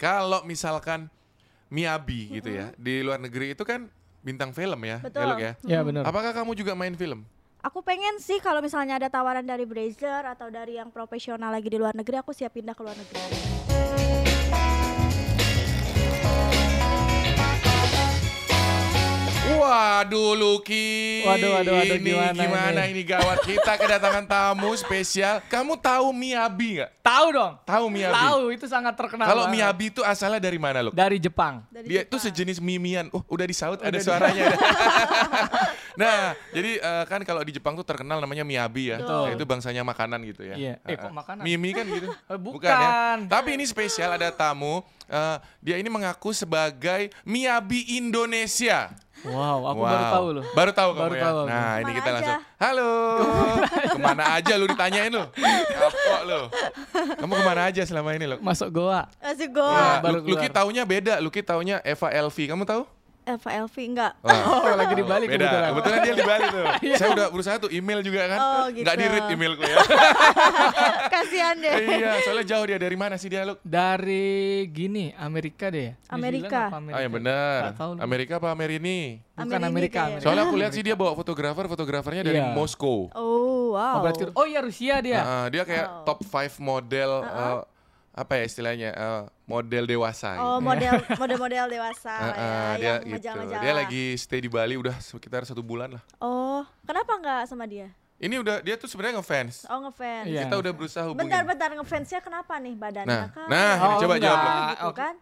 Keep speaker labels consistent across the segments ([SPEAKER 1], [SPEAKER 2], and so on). [SPEAKER 1] Kalau misalkan Miyabi gitu ya, di luar negeri itu kan bintang film ya,
[SPEAKER 2] Betul.
[SPEAKER 1] ya Luk ya.
[SPEAKER 3] Ya benar.
[SPEAKER 1] Apakah kamu juga main film?
[SPEAKER 2] Aku pengen sih kalau misalnya ada tawaran dari Brazzer atau dari yang profesional lagi di luar negeri, aku siap pindah ke luar negeri.
[SPEAKER 1] Waduh Lucky.
[SPEAKER 3] Waduh, waduh, waduh,
[SPEAKER 1] ini
[SPEAKER 3] gimana
[SPEAKER 1] gimana, ini? gawat. Kita kedatangan tamu spesial. Kamu tahu Miyabi nggak?
[SPEAKER 3] Tahu dong.
[SPEAKER 1] Tahu Miyabi?
[SPEAKER 3] Tahu itu sangat terkenal.
[SPEAKER 1] Kalau
[SPEAKER 3] banget.
[SPEAKER 1] Miyabi itu asalnya dari mana, Luk?
[SPEAKER 3] dari Jepang.
[SPEAKER 2] Dari
[SPEAKER 1] Dia itu
[SPEAKER 2] Jepang.
[SPEAKER 1] sejenis mimian. Oh, udah disaut ada suaranya. nah, jadi eh, kan kalau di Jepang tuh terkenal namanya miyabi ya.
[SPEAKER 3] Betul.
[SPEAKER 1] Nah, itu bangsanya makanan gitu ya.
[SPEAKER 3] Iya.
[SPEAKER 1] Ah,
[SPEAKER 3] Eh, kok
[SPEAKER 1] ah.
[SPEAKER 3] makanan?
[SPEAKER 1] Mimi kan gitu.
[SPEAKER 3] Eh, bukan.
[SPEAKER 1] Tapi ini spesial ada tamu. eh, dia ini mengaku sebagai miyabi Indonesia.
[SPEAKER 3] Wow, aku
[SPEAKER 1] Wow.
[SPEAKER 3] baru tahu loh.
[SPEAKER 1] Baru tahu kamu
[SPEAKER 3] Baru
[SPEAKER 1] ya.
[SPEAKER 3] tahu aku.
[SPEAKER 1] Nah, ini
[SPEAKER 2] Kemana
[SPEAKER 1] kita
[SPEAKER 2] aja?
[SPEAKER 1] langsung. Halo. kemana aja lu ditanyain lu? Apa lu? Kamu kemana aja selama ini lu?
[SPEAKER 3] Masuk Goa.
[SPEAKER 2] Asik
[SPEAKER 1] Nah,
[SPEAKER 2] gua.
[SPEAKER 3] Baru
[SPEAKER 1] Lu- Lucky
[SPEAKER 3] keluar.
[SPEAKER 1] taunya beda. Lucky taunya Eva Elvi. Kamu tahu?
[SPEAKER 2] Eva Eh, Elvi enggak.
[SPEAKER 3] Oh, lagi di Bali
[SPEAKER 1] Beda.
[SPEAKER 3] kebetulan. Iya.
[SPEAKER 1] Kebetulan dia di Bali tuh. Saya udah berusaha tuh email juga kan.
[SPEAKER 2] Oh, gitu.
[SPEAKER 1] Nggak di-read emailku ya.
[SPEAKER 2] Kasihan deh.
[SPEAKER 1] iya, soalnya jauh dia dari mana sih dia, Luk?
[SPEAKER 3] Dari gini, Amerika deh ya? New
[SPEAKER 2] Amerika.
[SPEAKER 3] Zealand apa
[SPEAKER 1] Ah, ya
[SPEAKER 3] Nggak
[SPEAKER 1] benar.
[SPEAKER 3] tahu nih.
[SPEAKER 1] Amerika apa Amerini?
[SPEAKER 2] Amerika
[SPEAKER 3] Bukan
[SPEAKER 2] ya.
[SPEAKER 3] Amerika.
[SPEAKER 2] kayaknya.
[SPEAKER 3] Amerika.
[SPEAKER 1] Soalnya aku lihat sih dia bawa fotografer, fotografernya dari
[SPEAKER 3] Iya.
[SPEAKER 1] Moskow.
[SPEAKER 2] Oh, wow.
[SPEAKER 3] Oh, berarti Oh iya Oh. Ah, Rusia dia.
[SPEAKER 1] Ah, ah, dia kayak
[SPEAKER 2] Wow.
[SPEAKER 1] top 5 model eh, apa ya istilahnya? eh, model dewasa
[SPEAKER 2] Oh,
[SPEAKER 1] gitu.
[SPEAKER 2] model model-model
[SPEAKER 3] iya,
[SPEAKER 2] dewasa
[SPEAKER 1] Ah, ah,
[SPEAKER 2] lah
[SPEAKER 1] dia
[SPEAKER 2] ya, yang
[SPEAKER 1] gitu.
[SPEAKER 2] majalah-majalah.
[SPEAKER 1] Dia lagi stay di Bali udah sekitar satu bulan lah.
[SPEAKER 2] Oh, kenapa enggak sama dia?
[SPEAKER 1] Ini udah dia tuh sebenarnya ngefans.
[SPEAKER 2] Oh, ngefans.
[SPEAKER 3] Iya.
[SPEAKER 1] Kita udah berusaha hubungin.
[SPEAKER 2] Bentar-bentar ngefansnya kenapa nih badannya
[SPEAKER 1] Nah,
[SPEAKER 2] kan?
[SPEAKER 1] nah, ini
[SPEAKER 3] Oh,
[SPEAKER 1] coba
[SPEAKER 3] enggak.
[SPEAKER 1] jawab. Luk.
[SPEAKER 3] Ah,
[SPEAKER 2] gitu
[SPEAKER 3] oke.
[SPEAKER 2] kan?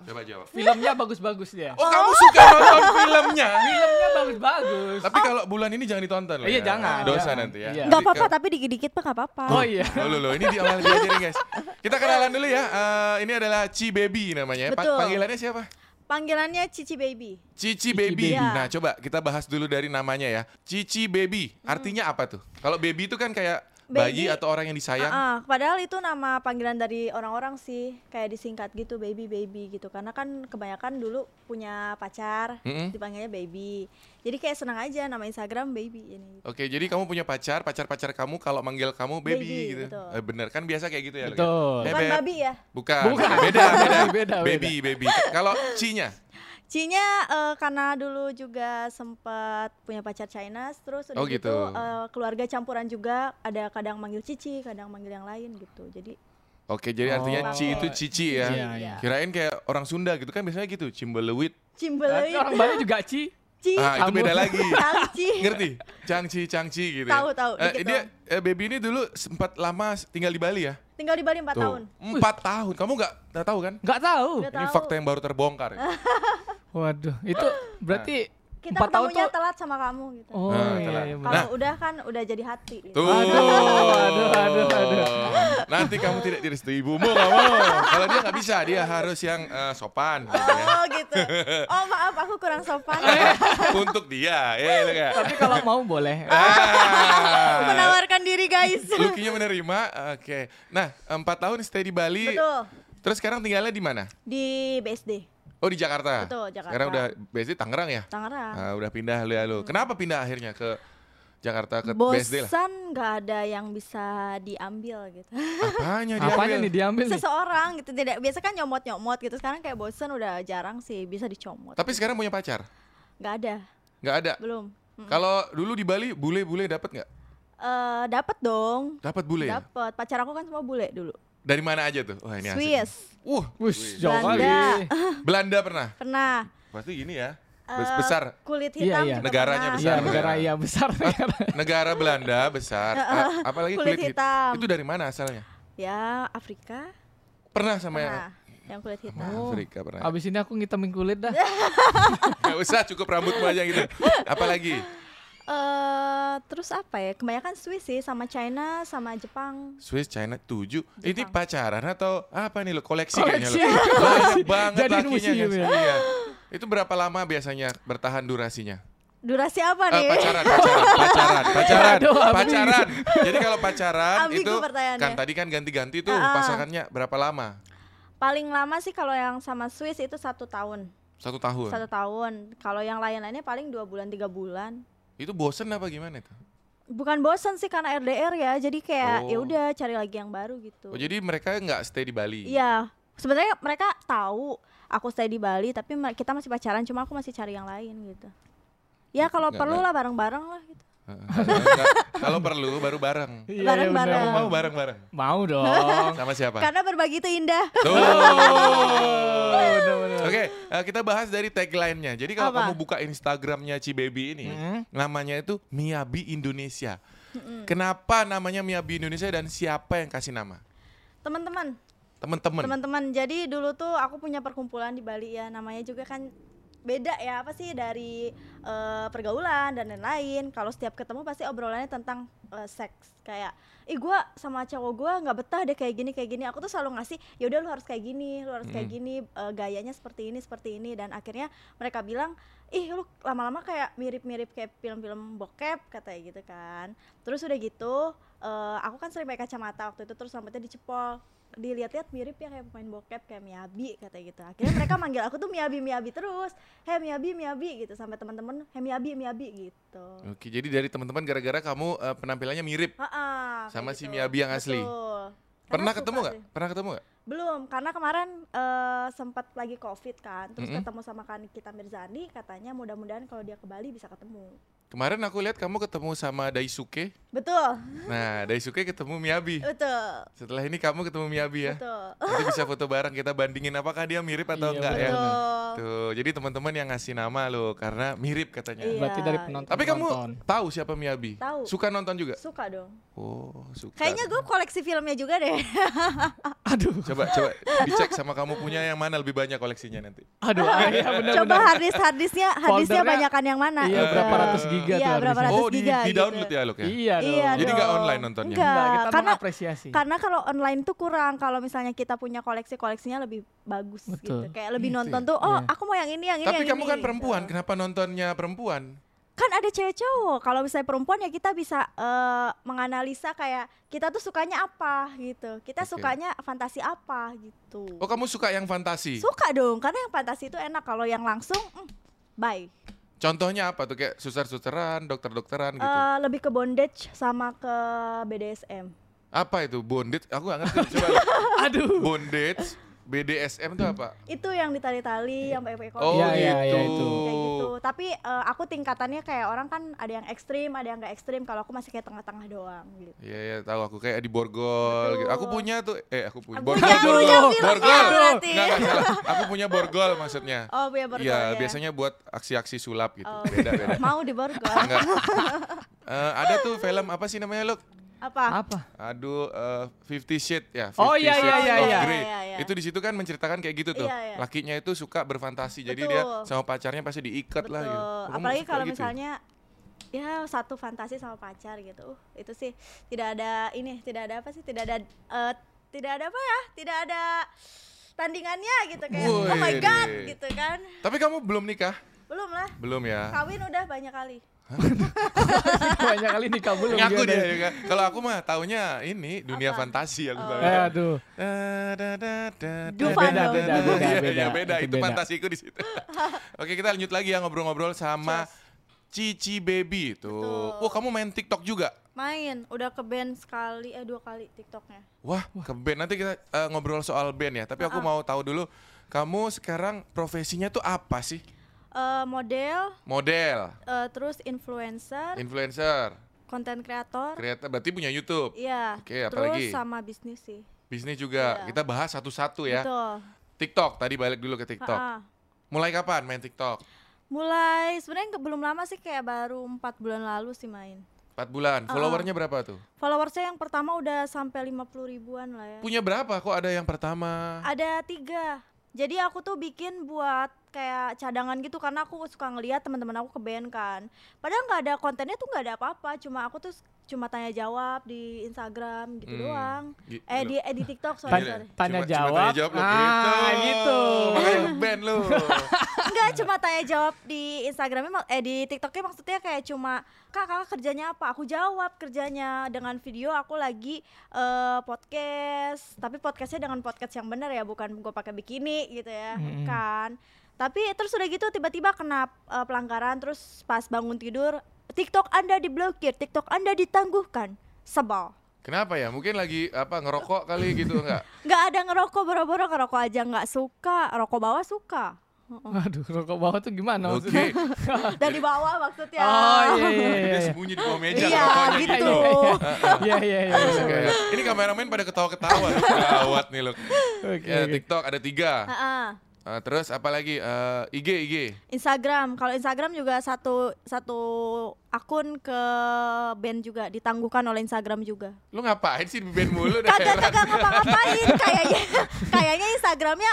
[SPEAKER 1] Coba jawab.
[SPEAKER 3] Filmnya bagus-bagus dia.
[SPEAKER 1] Oh, kamu suka nonton filmnya?
[SPEAKER 3] Filmnya bagus-bagus.
[SPEAKER 1] Tapi kalau bulan ini jangan ditonton loh.
[SPEAKER 3] Iya,
[SPEAKER 1] ya.
[SPEAKER 3] jangan,
[SPEAKER 1] Dosa
[SPEAKER 3] jangan.
[SPEAKER 1] nanti ya.
[SPEAKER 3] Iya.
[SPEAKER 2] Enggak apa-apa tapi dikit-dikit mah enggak apa-apa.
[SPEAKER 3] Oh iya.
[SPEAKER 1] Loh, loh, loh, ini di awal diajarin guys. Kita kenalan dulu ya. Eh, ini adalah Ci Baby namanya. ya. Pa-
[SPEAKER 2] Betul.
[SPEAKER 1] panggilannya siapa?
[SPEAKER 2] Panggilannya Cici Baby.
[SPEAKER 1] Cici Baby.
[SPEAKER 3] Baby.
[SPEAKER 2] Iya.
[SPEAKER 1] Nah, coba kita bahas dulu dari namanya ya. Cici Baby. Artinya apa tuh? Kalau baby itu kan kayak bayi
[SPEAKER 2] Baby.
[SPEAKER 1] atau orang yang disayang.
[SPEAKER 2] Ah, padahal itu nama panggilan dari orang-orang sih, kayak disingkat gitu baby baby gitu. Karena kan kebanyakan dulu punya pacar,
[SPEAKER 1] Mm-mm.
[SPEAKER 2] dipanggilnya baby. Jadi kayak senang aja nama Instagram baby gitu. ini.
[SPEAKER 1] Oke, jadi kamu punya pacar, pacar-pacar kamu kalau manggil kamu baby,
[SPEAKER 2] Baby,
[SPEAKER 1] gitu.
[SPEAKER 2] betul.
[SPEAKER 1] Eh, bener kan biasa kayak gitu ya. Lu, ya?
[SPEAKER 3] Betul.
[SPEAKER 1] Eh,
[SPEAKER 2] Bukan
[SPEAKER 1] Beb.
[SPEAKER 2] babi ya.
[SPEAKER 1] Bukan.
[SPEAKER 3] Bukan.
[SPEAKER 1] Beda, beda.
[SPEAKER 3] Beda, beda.
[SPEAKER 1] Baby, baby. Kalau cinya
[SPEAKER 2] Cinya eh, karena dulu juga sempat punya pacar China, terus udah
[SPEAKER 1] Oh, gitu.
[SPEAKER 2] gitu eh, keluarga campuran juga ada kadang manggil Cici, kadang manggil yang lain gitu. Jadi
[SPEAKER 1] Oke, jadi artinya
[SPEAKER 3] Oh.
[SPEAKER 1] ci itu cici ya.
[SPEAKER 3] Iya,
[SPEAKER 2] iya.
[SPEAKER 1] Kirain kayak orang Sunda gitu kan biasanya gitu, cimbelewit.
[SPEAKER 3] Tapi
[SPEAKER 2] cimbelin,
[SPEAKER 3] Orang Bali juga Ci.
[SPEAKER 2] Ci,
[SPEAKER 1] Ah, itu
[SPEAKER 3] Kamu.
[SPEAKER 1] beda lagi.
[SPEAKER 2] Kalci.
[SPEAKER 1] Ngerti? Cangci, cangci gitu. ya.
[SPEAKER 2] Tahu, tahu,
[SPEAKER 1] Eh,
[SPEAKER 2] dikit
[SPEAKER 1] dia eh, baby ini dulu sempat lama tinggal di Bali ya?
[SPEAKER 2] Tinggal di Bali 4
[SPEAKER 1] Tuh.
[SPEAKER 2] tahun.
[SPEAKER 1] Empat tahun. Kamu nggak nggak tahu kan?
[SPEAKER 3] Enggak tahu. Ah.
[SPEAKER 2] Nggak
[SPEAKER 1] Ini
[SPEAKER 2] tahu.
[SPEAKER 1] fakta yang baru terbongkar. Ya?
[SPEAKER 3] Waduh, itu berarti
[SPEAKER 2] Kita
[SPEAKER 3] empat tahun
[SPEAKER 2] ketemunya
[SPEAKER 3] tuh
[SPEAKER 2] telat sama kamu gitu.
[SPEAKER 3] Oh
[SPEAKER 1] Nah,
[SPEAKER 3] iya,
[SPEAKER 1] telat.
[SPEAKER 3] iya, benar.
[SPEAKER 2] Kalau
[SPEAKER 1] Nah.
[SPEAKER 2] udah kan udah jadi hati. gitu.
[SPEAKER 1] Tuh.
[SPEAKER 3] Aduh, aduh, aduh, aduh.
[SPEAKER 1] Nanti kamu tidak direstui ibumu kamu. Kalau dia nggak bisa, dia harus yang eh, sopan gitu ya.
[SPEAKER 2] Oh gitu. Oh maaf aku kurang sopan.
[SPEAKER 1] Iya. Untuk dia, ya gitu kan.
[SPEAKER 3] Tapi kalau mau boleh.
[SPEAKER 2] Aku
[SPEAKER 1] Ah.
[SPEAKER 2] menawarkan diri guys.
[SPEAKER 1] Lukinya menerima, oke. Nah, empat tahun stay di Bali.
[SPEAKER 2] Betul.
[SPEAKER 1] Terus sekarang tinggalnya di mana?
[SPEAKER 2] Di BSD
[SPEAKER 1] Oh di Jakarta.
[SPEAKER 2] Betul, Jakarta.
[SPEAKER 1] Sekarang udah BSD Tangerang ya?
[SPEAKER 2] Tangerang. Hmm.
[SPEAKER 1] Ah, udah pindah lu ya lu. Kenapa pindah akhirnya ke Jakarta ke BSD lah?
[SPEAKER 2] Bosan nggak ada yang bisa diambil gitu.
[SPEAKER 1] Apanya dia?
[SPEAKER 3] Apanya nih diambil nih?
[SPEAKER 2] Seseorang gitu tidak biasa kan nyomot nyomot gitu. Sekarang kayak bosan udah jarang sih bisa dicomot.
[SPEAKER 1] Tapi sekarang punya pacar?
[SPEAKER 2] Nggak ada,
[SPEAKER 1] Nggak ada.
[SPEAKER 2] belum. Mm.
[SPEAKER 1] Kalau dulu di Bali bule-bule dapat nggak?
[SPEAKER 2] Eh dapat dong.
[SPEAKER 1] Dapat bule ya?
[SPEAKER 2] Dapat. Pacar aku kan semua bule dulu.
[SPEAKER 1] Dari mana aja tuh? Wah, ini asik.
[SPEAKER 2] Swiss
[SPEAKER 1] Wuh,
[SPEAKER 3] Wih, jauh kali.
[SPEAKER 2] Belanda.
[SPEAKER 1] Belanda pernah.
[SPEAKER 2] pernah.
[SPEAKER 1] Pasti gini ya.
[SPEAKER 2] Eh,
[SPEAKER 1] Bes- besar.
[SPEAKER 2] kulit
[SPEAKER 3] Iya,
[SPEAKER 2] hitam
[SPEAKER 3] iya.
[SPEAKER 2] juga
[SPEAKER 1] Negaranya
[SPEAKER 2] pernah.
[SPEAKER 3] Iya,
[SPEAKER 1] Besar.
[SPEAKER 3] negara iya besar negara.
[SPEAKER 1] Negara Belanda besar. Ah, apalagi kulit,
[SPEAKER 2] Kulit
[SPEAKER 1] hit-
[SPEAKER 2] hitam.
[SPEAKER 1] Itu dari mana asalnya?
[SPEAKER 2] Ya, Afrika.
[SPEAKER 1] Pernah sama yang
[SPEAKER 2] Pernah. Nah, Oh. Yang kulit
[SPEAKER 1] sama
[SPEAKER 2] hitam.
[SPEAKER 1] Afrika pernah.
[SPEAKER 3] Abis ini aku ngitemin kulit dah.
[SPEAKER 1] Gak usah cukup rambutmu aja gitu. Apalagi?
[SPEAKER 2] Eh, terus apa ya? Kebanyakan Swiss sih sama China sama Jepang.
[SPEAKER 1] Swiss China 7 Ini pacaran atau apa nih lo koleksi, kayaknya
[SPEAKER 3] Koleksi.
[SPEAKER 1] lo banyak banget
[SPEAKER 3] Jadiin
[SPEAKER 1] lakinya
[SPEAKER 3] museum
[SPEAKER 1] guys.
[SPEAKER 3] ya.
[SPEAKER 1] Iya. itu berapa lama biasanya bertahan durasinya
[SPEAKER 2] Durasi apa
[SPEAKER 1] Eh,
[SPEAKER 2] nih?
[SPEAKER 1] pacaran pacaran pacaran pacaran
[SPEAKER 3] Aduh, Abi.
[SPEAKER 1] pacaran jadi kalau pacaran
[SPEAKER 2] Ambigu
[SPEAKER 1] itu
[SPEAKER 2] pertanyaannya.
[SPEAKER 1] kan tadi kan ganti-ganti tuh
[SPEAKER 2] Ah, ah.
[SPEAKER 1] pasangannya berapa lama
[SPEAKER 2] Paling lama sih kalau yang sama Swiss itu satu tahun,
[SPEAKER 1] satu tahun
[SPEAKER 2] satu tahun. Kalau yang lain-lainnya paling dua bulan tiga bulan.
[SPEAKER 1] itu bosen apa gimana itu
[SPEAKER 2] Bukan bosan sih karena RDR ya, jadi
[SPEAKER 1] Oh.
[SPEAKER 2] kayak ya udah cari lagi yang baru gitu.
[SPEAKER 1] oh, jadi mereka nggak stay di Bali
[SPEAKER 2] Iya, sebenarnya mereka tahu aku stay di Bali tapi ma- kita masih pacaran cuma aku masih cari yang lain gitu ya kalau
[SPEAKER 1] Nggak,
[SPEAKER 2] perlu
[SPEAKER 1] nggak.
[SPEAKER 2] lah bareng-bareng lah gitu
[SPEAKER 1] Kalau perlu baru bareng.
[SPEAKER 3] Iya,
[SPEAKER 2] Bareng-bareng.
[SPEAKER 3] bener.
[SPEAKER 1] Mau bareng-bareng.
[SPEAKER 3] Mau dong.
[SPEAKER 1] Sama siapa?
[SPEAKER 2] karena berbagi itu indah
[SPEAKER 1] Tuh.
[SPEAKER 3] Bener-bener.
[SPEAKER 1] Oke, eh, kita bahas dari tagline-nya. Jadi kalau
[SPEAKER 2] Apa?
[SPEAKER 1] kamu buka Instagramnya Cibaby ini,
[SPEAKER 3] Hmm.
[SPEAKER 1] namanya itu Miabi Indonesia. Kenapa namanya Miabi Indonesia dan siapa yang kasih nama?
[SPEAKER 2] teman-teman
[SPEAKER 1] Temen-temen.
[SPEAKER 2] teman-teman jadi dulu tuh aku punya perkumpulan di Bali ya namanya juga kan beda ya apa sih dari eh, pergaulan dan lain-lain kalau setiap ketemu pasti obrolannya tentang eh, seks kayak ih gua sama cowok gua nggak betah deh kayak gini kayak gini aku tuh selalu ngasih ya udah lu harus kayak gini lu harus kayak gini eh, gayanya seperti ini seperti ini dan akhirnya mereka bilang ih lu lama-lama kayak mirip-mirip kayak film-film bokep katanya gitu kan terus udah gitu eh, aku kan sering pakai kacamata waktu itu terus rambutnya dicepol dilihat-lihat mirip ya kayak pemain bokep kayak Miyabi katanya gitu akhirnya mereka manggil aku tuh Miyabi Miyabi terus hei Miyabi Miyabi gitu sampai teman-teman hei Miyabi Miyabi gitu
[SPEAKER 1] Oke, jadi dari teman-teman gara-gara kamu eh, penampilannya mirip.
[SPEAKER 2] Ha-ha, kayak
[SPEAKER 1] Sama si
[SPEAKER 2] gitu.
[SPEAKER 1] Miyabi yang asli.
[SPEAKER 2] Betul. Karena
[SPEAKER 1] Pernah
[SPEAKER 2] suka
[SPEAKER 1] ketemu nggak?
[SPEAKER 2] sih.
[SPEAKER 1] Pernah ketemu nggak?
[SPEAKER 2] Belum, karena kemarin eh, sempat lagi covid kan Terus
[SPEAKER 1] Mm-mm.
[SPEAKER 2] ketemu sama kan kita Mirzani Katanya mudah-mudahan kalau dia ke Bali bisa ketemu
[SPEAKER 1] Kemarin aku lihat kamu ketemu sama Daisuke.
[SPEAKER 2] Betul,
[SPEAKER 1] Nah, Daisuke ketemu Miabi.
[SPEAKER 2] betul,
[SPEAKER 1] Setelah ini kamu ketemu Miabi ya.
[SPEAKER 2] betul
[SPEAKER 1] Nanti bisa foto bareng kita bandingin apakah dia mirip atau
[SPEAKER 3] Iya,
[SPEAKER 1] enggak ya.
[SPEAKER 3] betul.
[SPEAKER 1] Tuh, jadi teman-teman yang ngasih nama lo karena mirip katanya.
[SPEAKER 2] Iya.
[SPEAKER 3] Berarti dari penonton.
[SPEAKER 1] Tapi kamu
[SPEAKER 3] penonton.
[SPEAKER 1] tahu siapa Miyabi?
[SPEAKER 2] Tahu.
[SPEAKER 1] Suka nonton juga?
[SPEAKER 2] Suka dong
[SPEAKER 1] Oh, suka.
[SPEAKER 2] Kayaknya gue koleksi filmnya juga deh
[SPEAKER 3] Aduh,
[SPEAKER 1] Coba coba dicek sama kamu punya yang mana lebih banyak koleksinya nanti.
[SPEAKER 3] aduh,
[SPEAKER 2] Nah,
[SPEAKER 3] ah, iya bener-bener.
[SPEAKER 2] Coba harddisk harddisknya harddisknya
[SPEAKER 3] Foldernya-
[SPEAKER 2] banyakan yang mana?
[SPEAKER 3] Iya,
[SPEAKER 2] gitu.
[SPEAKER 3] berapa ratus giga
[SPEAKER 2] Iya,
[SPEAKER 3] tuh
[SPEAKER 2] berapa
[SPEAKER 3] harusnya.
[SPEAKER 2] ratus
[SPEAKER 1] oh, di,
[SPEAKER 2] giga
[SPEAKER 1] di
[SPEAKER 2] gitu.
[SPEAKER 1] download ya lo ya.
[SPEAKER 3] Iya dong.
[SPEAKER 2] Iya
[SPEAKER 1] Jadi nggak
[SPEAKER 2] dong.
[SPEAKER 1] online nontonnya?
[SPEAKER 2] Enggak,
[SPEAKER 3] Enggak, kita
[SPEAKER 2] karena
[SPEAKER 3] mengapresiasi.
[SPEAKER 2] karena kalau online tuh kurang. Kalau misalnya kita punya koleksi koleksinya lebih bagus
[SPEAKER 3] Betul.
[SPEAKER 2] gitu. Kayak lebih
[SPEAKER 1] Gitu
[SPEAKER 2] nonton
[SPEAKER 1] ya?
[SPEAKER 2] tuh, oh
[SPEAKER 3] Iya.
[SPEAKER 2] aku mau yang ini, yang ini,
[SPEAKER 1] Tapi
[SPEAKER 2] yang
[SPEAKER 1] kamu
[SPEAKER 2] ini,
[SPEAKER 1] kan perempuan,
[SPEAKER 2] gitu.
[SPEAKER 1] kenapa nontonnya perempuan?
[SPEAKER 2] Kan ada cewek cowok. Kalau misalnya perempuan ya kita bisa eh, menganalisa kayak kita tuh sukanya apa gitu. Kita
[SPEAKER 1] Oke.
[SPEAKER 2] sukanya fantasi apa gitu.
[SPEAKER 1] Oh, kamu suka yang fantasi.
[SPEAKER 2] Suka dong, karena yang fantasi itu enak. Kalau yang langsung, mm, bye.
[SPEAKER 1] Contohnya apa tuh kayak suster-susteran, dokter-dokteran gitu.
[SPEAKER 2] Eh, lebih ke bondage sama ke BDSM.
[SPEAKER 1] apa itu bondage? Aku nggak ngerti. Coba
[SPEAKER 3] Aduh.
[SPEAKER 1] bondage, BDSM itu apa?
[SPEAKER 2] itu yang ditali-tali yang pakai
[SPEAKER 1] Oh,
[SPEAKER 2] kolor
[SPEAKER 3] Iya, iya, iya,
[SPEAKER 1] gitu.
[SPEAKER 3] itu.
[SPEAKER 2] kayak gitu tapi eh, aku tingkatannya kayak orang kan ada yang ekstrim ada yang nggak ekstrim kalau aku masih kayak tengah-tengah doang gitu
[SPEAKER 1] Iya, iya, tahu aku kayak di borgol gitu. Aku
[SPEAKER 2] Betul.
[SPEAKER 1] punya tuh eh aku punya
[SPEAKER 2] Aku
[SPEAKER 1] borgol.
[SPEAKER 2] punya-
[SPEAKER 1] dulu.
[SPEAKER 3] punya
[SPEAKER 2] filmnya
[SPEAKER 1] borgol.
[SPEAKER 2] berarti.
[SPEAKER 1] Enggak, enggak salah. Aku punya borgol maksudnya.
[SPEAKER 2] oh punya borgol
[SPEAKER 1] Iya,
[SPEAKER 2] ya?
[SPEAKER 1] biasanya buat aksi-aksi sulap gitu.
[SPEAKER 2] Oh,
[SPEAKER 1] Beda, beda.
[SPEAKER 2] mau di borgol
[SPEAKER 1] Enggak. Eh, ada tuh film apa sih namanya, Luk?
[SPEAKER 2] apa
[SPEAKER 3] Apa?
[SPEAKER 1] Aduh, eh, Fifty Shades ya.
[SPEAKER 3] Oh,
[SPEAKER 1] 50
[SPEAKER 3] iya, iya,
[SPEAKER 1] Shades
[SPEAKER 3] iya,
[SPEAKER 1] of
[SPEAKER 3] iya.
[SPEAKER 1] Grey.
[SPEAKER 2] Iya, iya.
[SPEAKER 1] Itu di situ kan menceritakan kayak gitu tuh.
[SPEAKER 2] Iya, iya.
[SPEAKER 1] Lakinya itu suka berfantasi, jadi
[SPEAKER 2] Betul.
[SPEAKER 1] dia sama pacarnya pasti diikat
[SPEAKER 2] betul
[SPEAKER 1] lah. Gitu. Kamu
[SPEAKER 2] apalagi
[SPEAKER 1] suka
[SPEAKER 2] kalau
[SPEAKER 1] gitu ya?
[SPEAKER 2] misalnya ya satu fantasi sama pacar gitu uh, itu sih tidak ada ini tidak ada apa sih tidak ada eh, tidak ada apa ya tidak ada tandingannya gitu kayak oh my
[SPEAKER 1] Wih.
[SPEAKER 2] god gitu kan
[SPEAKER 1] Tapi kamu belum nikah?
[SPEAKER 2] belum lah
[SPEAKER 1] Belum ya.
[SPEAKER 2] kawin udah banyak kali
[SPEAKER 3] Banyak kali nikah belum.
[SPEAKER 1] Ngaku
[SPEAKER 3] dia
[SPEAKER 1] dia
[SPEAKER 3] dari-
[SPEAKER 1] ya kan. Kalau aku mah taunya ini dunia
[SPEAKER 2] Apa?
[SPEAKER 1] fantasi aku
[SPEAKER 2] Oh.
[SPEAKER 1] tahu.
[SPEAKER 3] Eh, aduh.
[SPEAKER 1] Da, da, da, da,
[SPEAKER 2] Dufan
[SPEAKER 1] da,
[SPEAKER 2] dong.
[SPEAKER 1] da, da,
[SPEAKER 2] Beda,
[SPEAKER 1] da. Iya,
[SPEAKER 3] beda,
[SPEAKER 1] iya, beda.
[SPEAKER 3] itu
[SPEAKER 1] Itu
[SPEAKER 3] beda.
[SPEAKER 1] fantasiku di situ. Oke, kita lanjut lagi ya ngobrol-ngobrol sama Cici Baby tuh.
[SPEAKER 2] Betul.
[SPEAKER 1] Wah, kamu main TikTok juga?
[SPEAKER 2] main udah ke band sekali eh dua kali tiktoknya
[SPEAKER 1] Wah, ke band. Nanti kita eh, ngobrol soal band ya. Tapi
[SPEAKER 2] Ah.
[SPEAKER 1] aku mau tahu dulu, kamu sekarang profesinya tuh apa sih?
[SPEAKER 2] Eh, model
[SPEAKER 1] Model,
[SPEAKER 2] eh, terus
[SPEAKER 1] Iya.
[SPEAKER 2] influencer
[SPEAKER 1] influencer,
[SPEAKER 2] konten kreator
[SPEAKER 1] kreator. Berarti punya YouTube,
[SPEAKER 2] iya
[SPEAKER 1] Oke, apa
[SPEAKER 2] terus
[SPEAKER 1] lagi?
[SPEAKER 2] sama bisnis sih
[SPEAKER 1] bisnis juga.
[SPEAKER 2] Iya.
[SPEAKER 1] Kita bahas satu-satu ya.
[SPEAKER 2] betul
[SPEAKER 1] TikTok. Tadi balik dulu ke TikTok.
[SPEAKER 2] Ha-ha.
[SPEAKER 1] Mulai kapan main TikTok?
[SPEAKER 2] mulai sebenarnya nggak- belum lama sih kayak baru empat bulan lalu sih main
[SPEAKER 1] 4 bulan.
[SPEAKER 2] Ah.
[SPEAKER 1] Followernya berapa tuh?
[SPEAKER 2] followersnya yang pertama udah sampai 50 ribuan lah ya
[SPEAKER 1] Punya berapa? Kok ada yang pertama?
[SPEAKER 2] ada tiga jadi aku tuh bikin buat kayak cadangan gitu karena aku suka ngeliat teman-teman aku ke band kan padahal nggak ada kontennya tuh nggak ada apa-apa cuma aku tuh s- cuma tanya jawab di Instagram gitu
[SPEAKER 1] Hmm.
[SPEAKER 2] doang
[SPEAKER 1] Gi-
[SPEAKER 2] eh
[SPEAKER 1] lu-
[SPEAKER 2] di eh, di TikTok sorry
[SPEAKER 3] Tanya,
[SPEAKER 2] sorry
[SPEAKER 3] tanya
[SPEAKER 1] Iya. Cuma- cuma
[SPEAKER 3] jawab.
[SPEAKER 1] tanya jawab lu.
[SPEAKER 3] Ah, gitu.
[SPEAKER 1] Makanya ngeband lu.
[SPEAKER 2] Enggak, cuma tanya jawab di Instagramnya mak- eh di TikToknya maksudnya kayak cuma kak kakak kerjanya apa? Aku jawab kerjanya dengan video aku lagi eh, podcast, tapi podcastnya dengan podcast yang benar ya, bukan gue pakai bikini gitu ya,
[SPEAKER 3] Mm-mm.
[SPEAKER 2] kan? Tapi terus udah gitu tiba-tiba kena eh, pelanggaran, terus pas bangun tidur TikTok anda diblokir, TikTok anda ditangguhkan, sebal.
[SPEAKER 1] Kenapa ya? Mungkin lagi apa ngerokok kali gitu enggak?
[SPEAKER 2] nggak ada ngerokok boro-boro ngerokok aja nggak suka rokok bawah suka Heeh.
[SPEAKER 3] Aduh, rokok bawah tuh gimana
[SPEAKER 1] Oke.
[SPEAKER 3] maksudnya?
[SPEAKER 2] dari bawah maksudnya
[SPEAKER 3] Oh iya iya iya,
[SPEAKER 1] Dia Ah,
[SPEAKER 3] iya.
[SPEAKER 1] sembunyi di bawah meja
[SPEAKER 2] iya
[SPEAKER 1] ngerokoknya
[SPEAKER 2] gitu
[SPEAKER 3] Iya iya iya.
[SPEAKER 1] Terus kayak, ini kameramen pada ketawa-ketawa. Gawat nih lo.
[SPEAKER 3] Oke.
[SPEAKER 1] Ya,
[SPEAKER 3] oke.
[SPEAKER 1] TikTok ada tiga.
[SPEAKER 2] Heeh.
[SPEAKER 1] Eh, terus apa lagi? Eh, IG, IG.
[SPEAKER 2] Instagram kalau Instagram juga satu satu akun ke band juga ditangguhkan oleh Instagram juga
[SPEAKER 1] Lu ngapain sih di band mulu? Dah
[SPEAKER 2] kagak
[SPEAKER 1] heran.
[SPEAKER 2] kagak ngapa-ngapain kayaknya kayaknya Instagramnya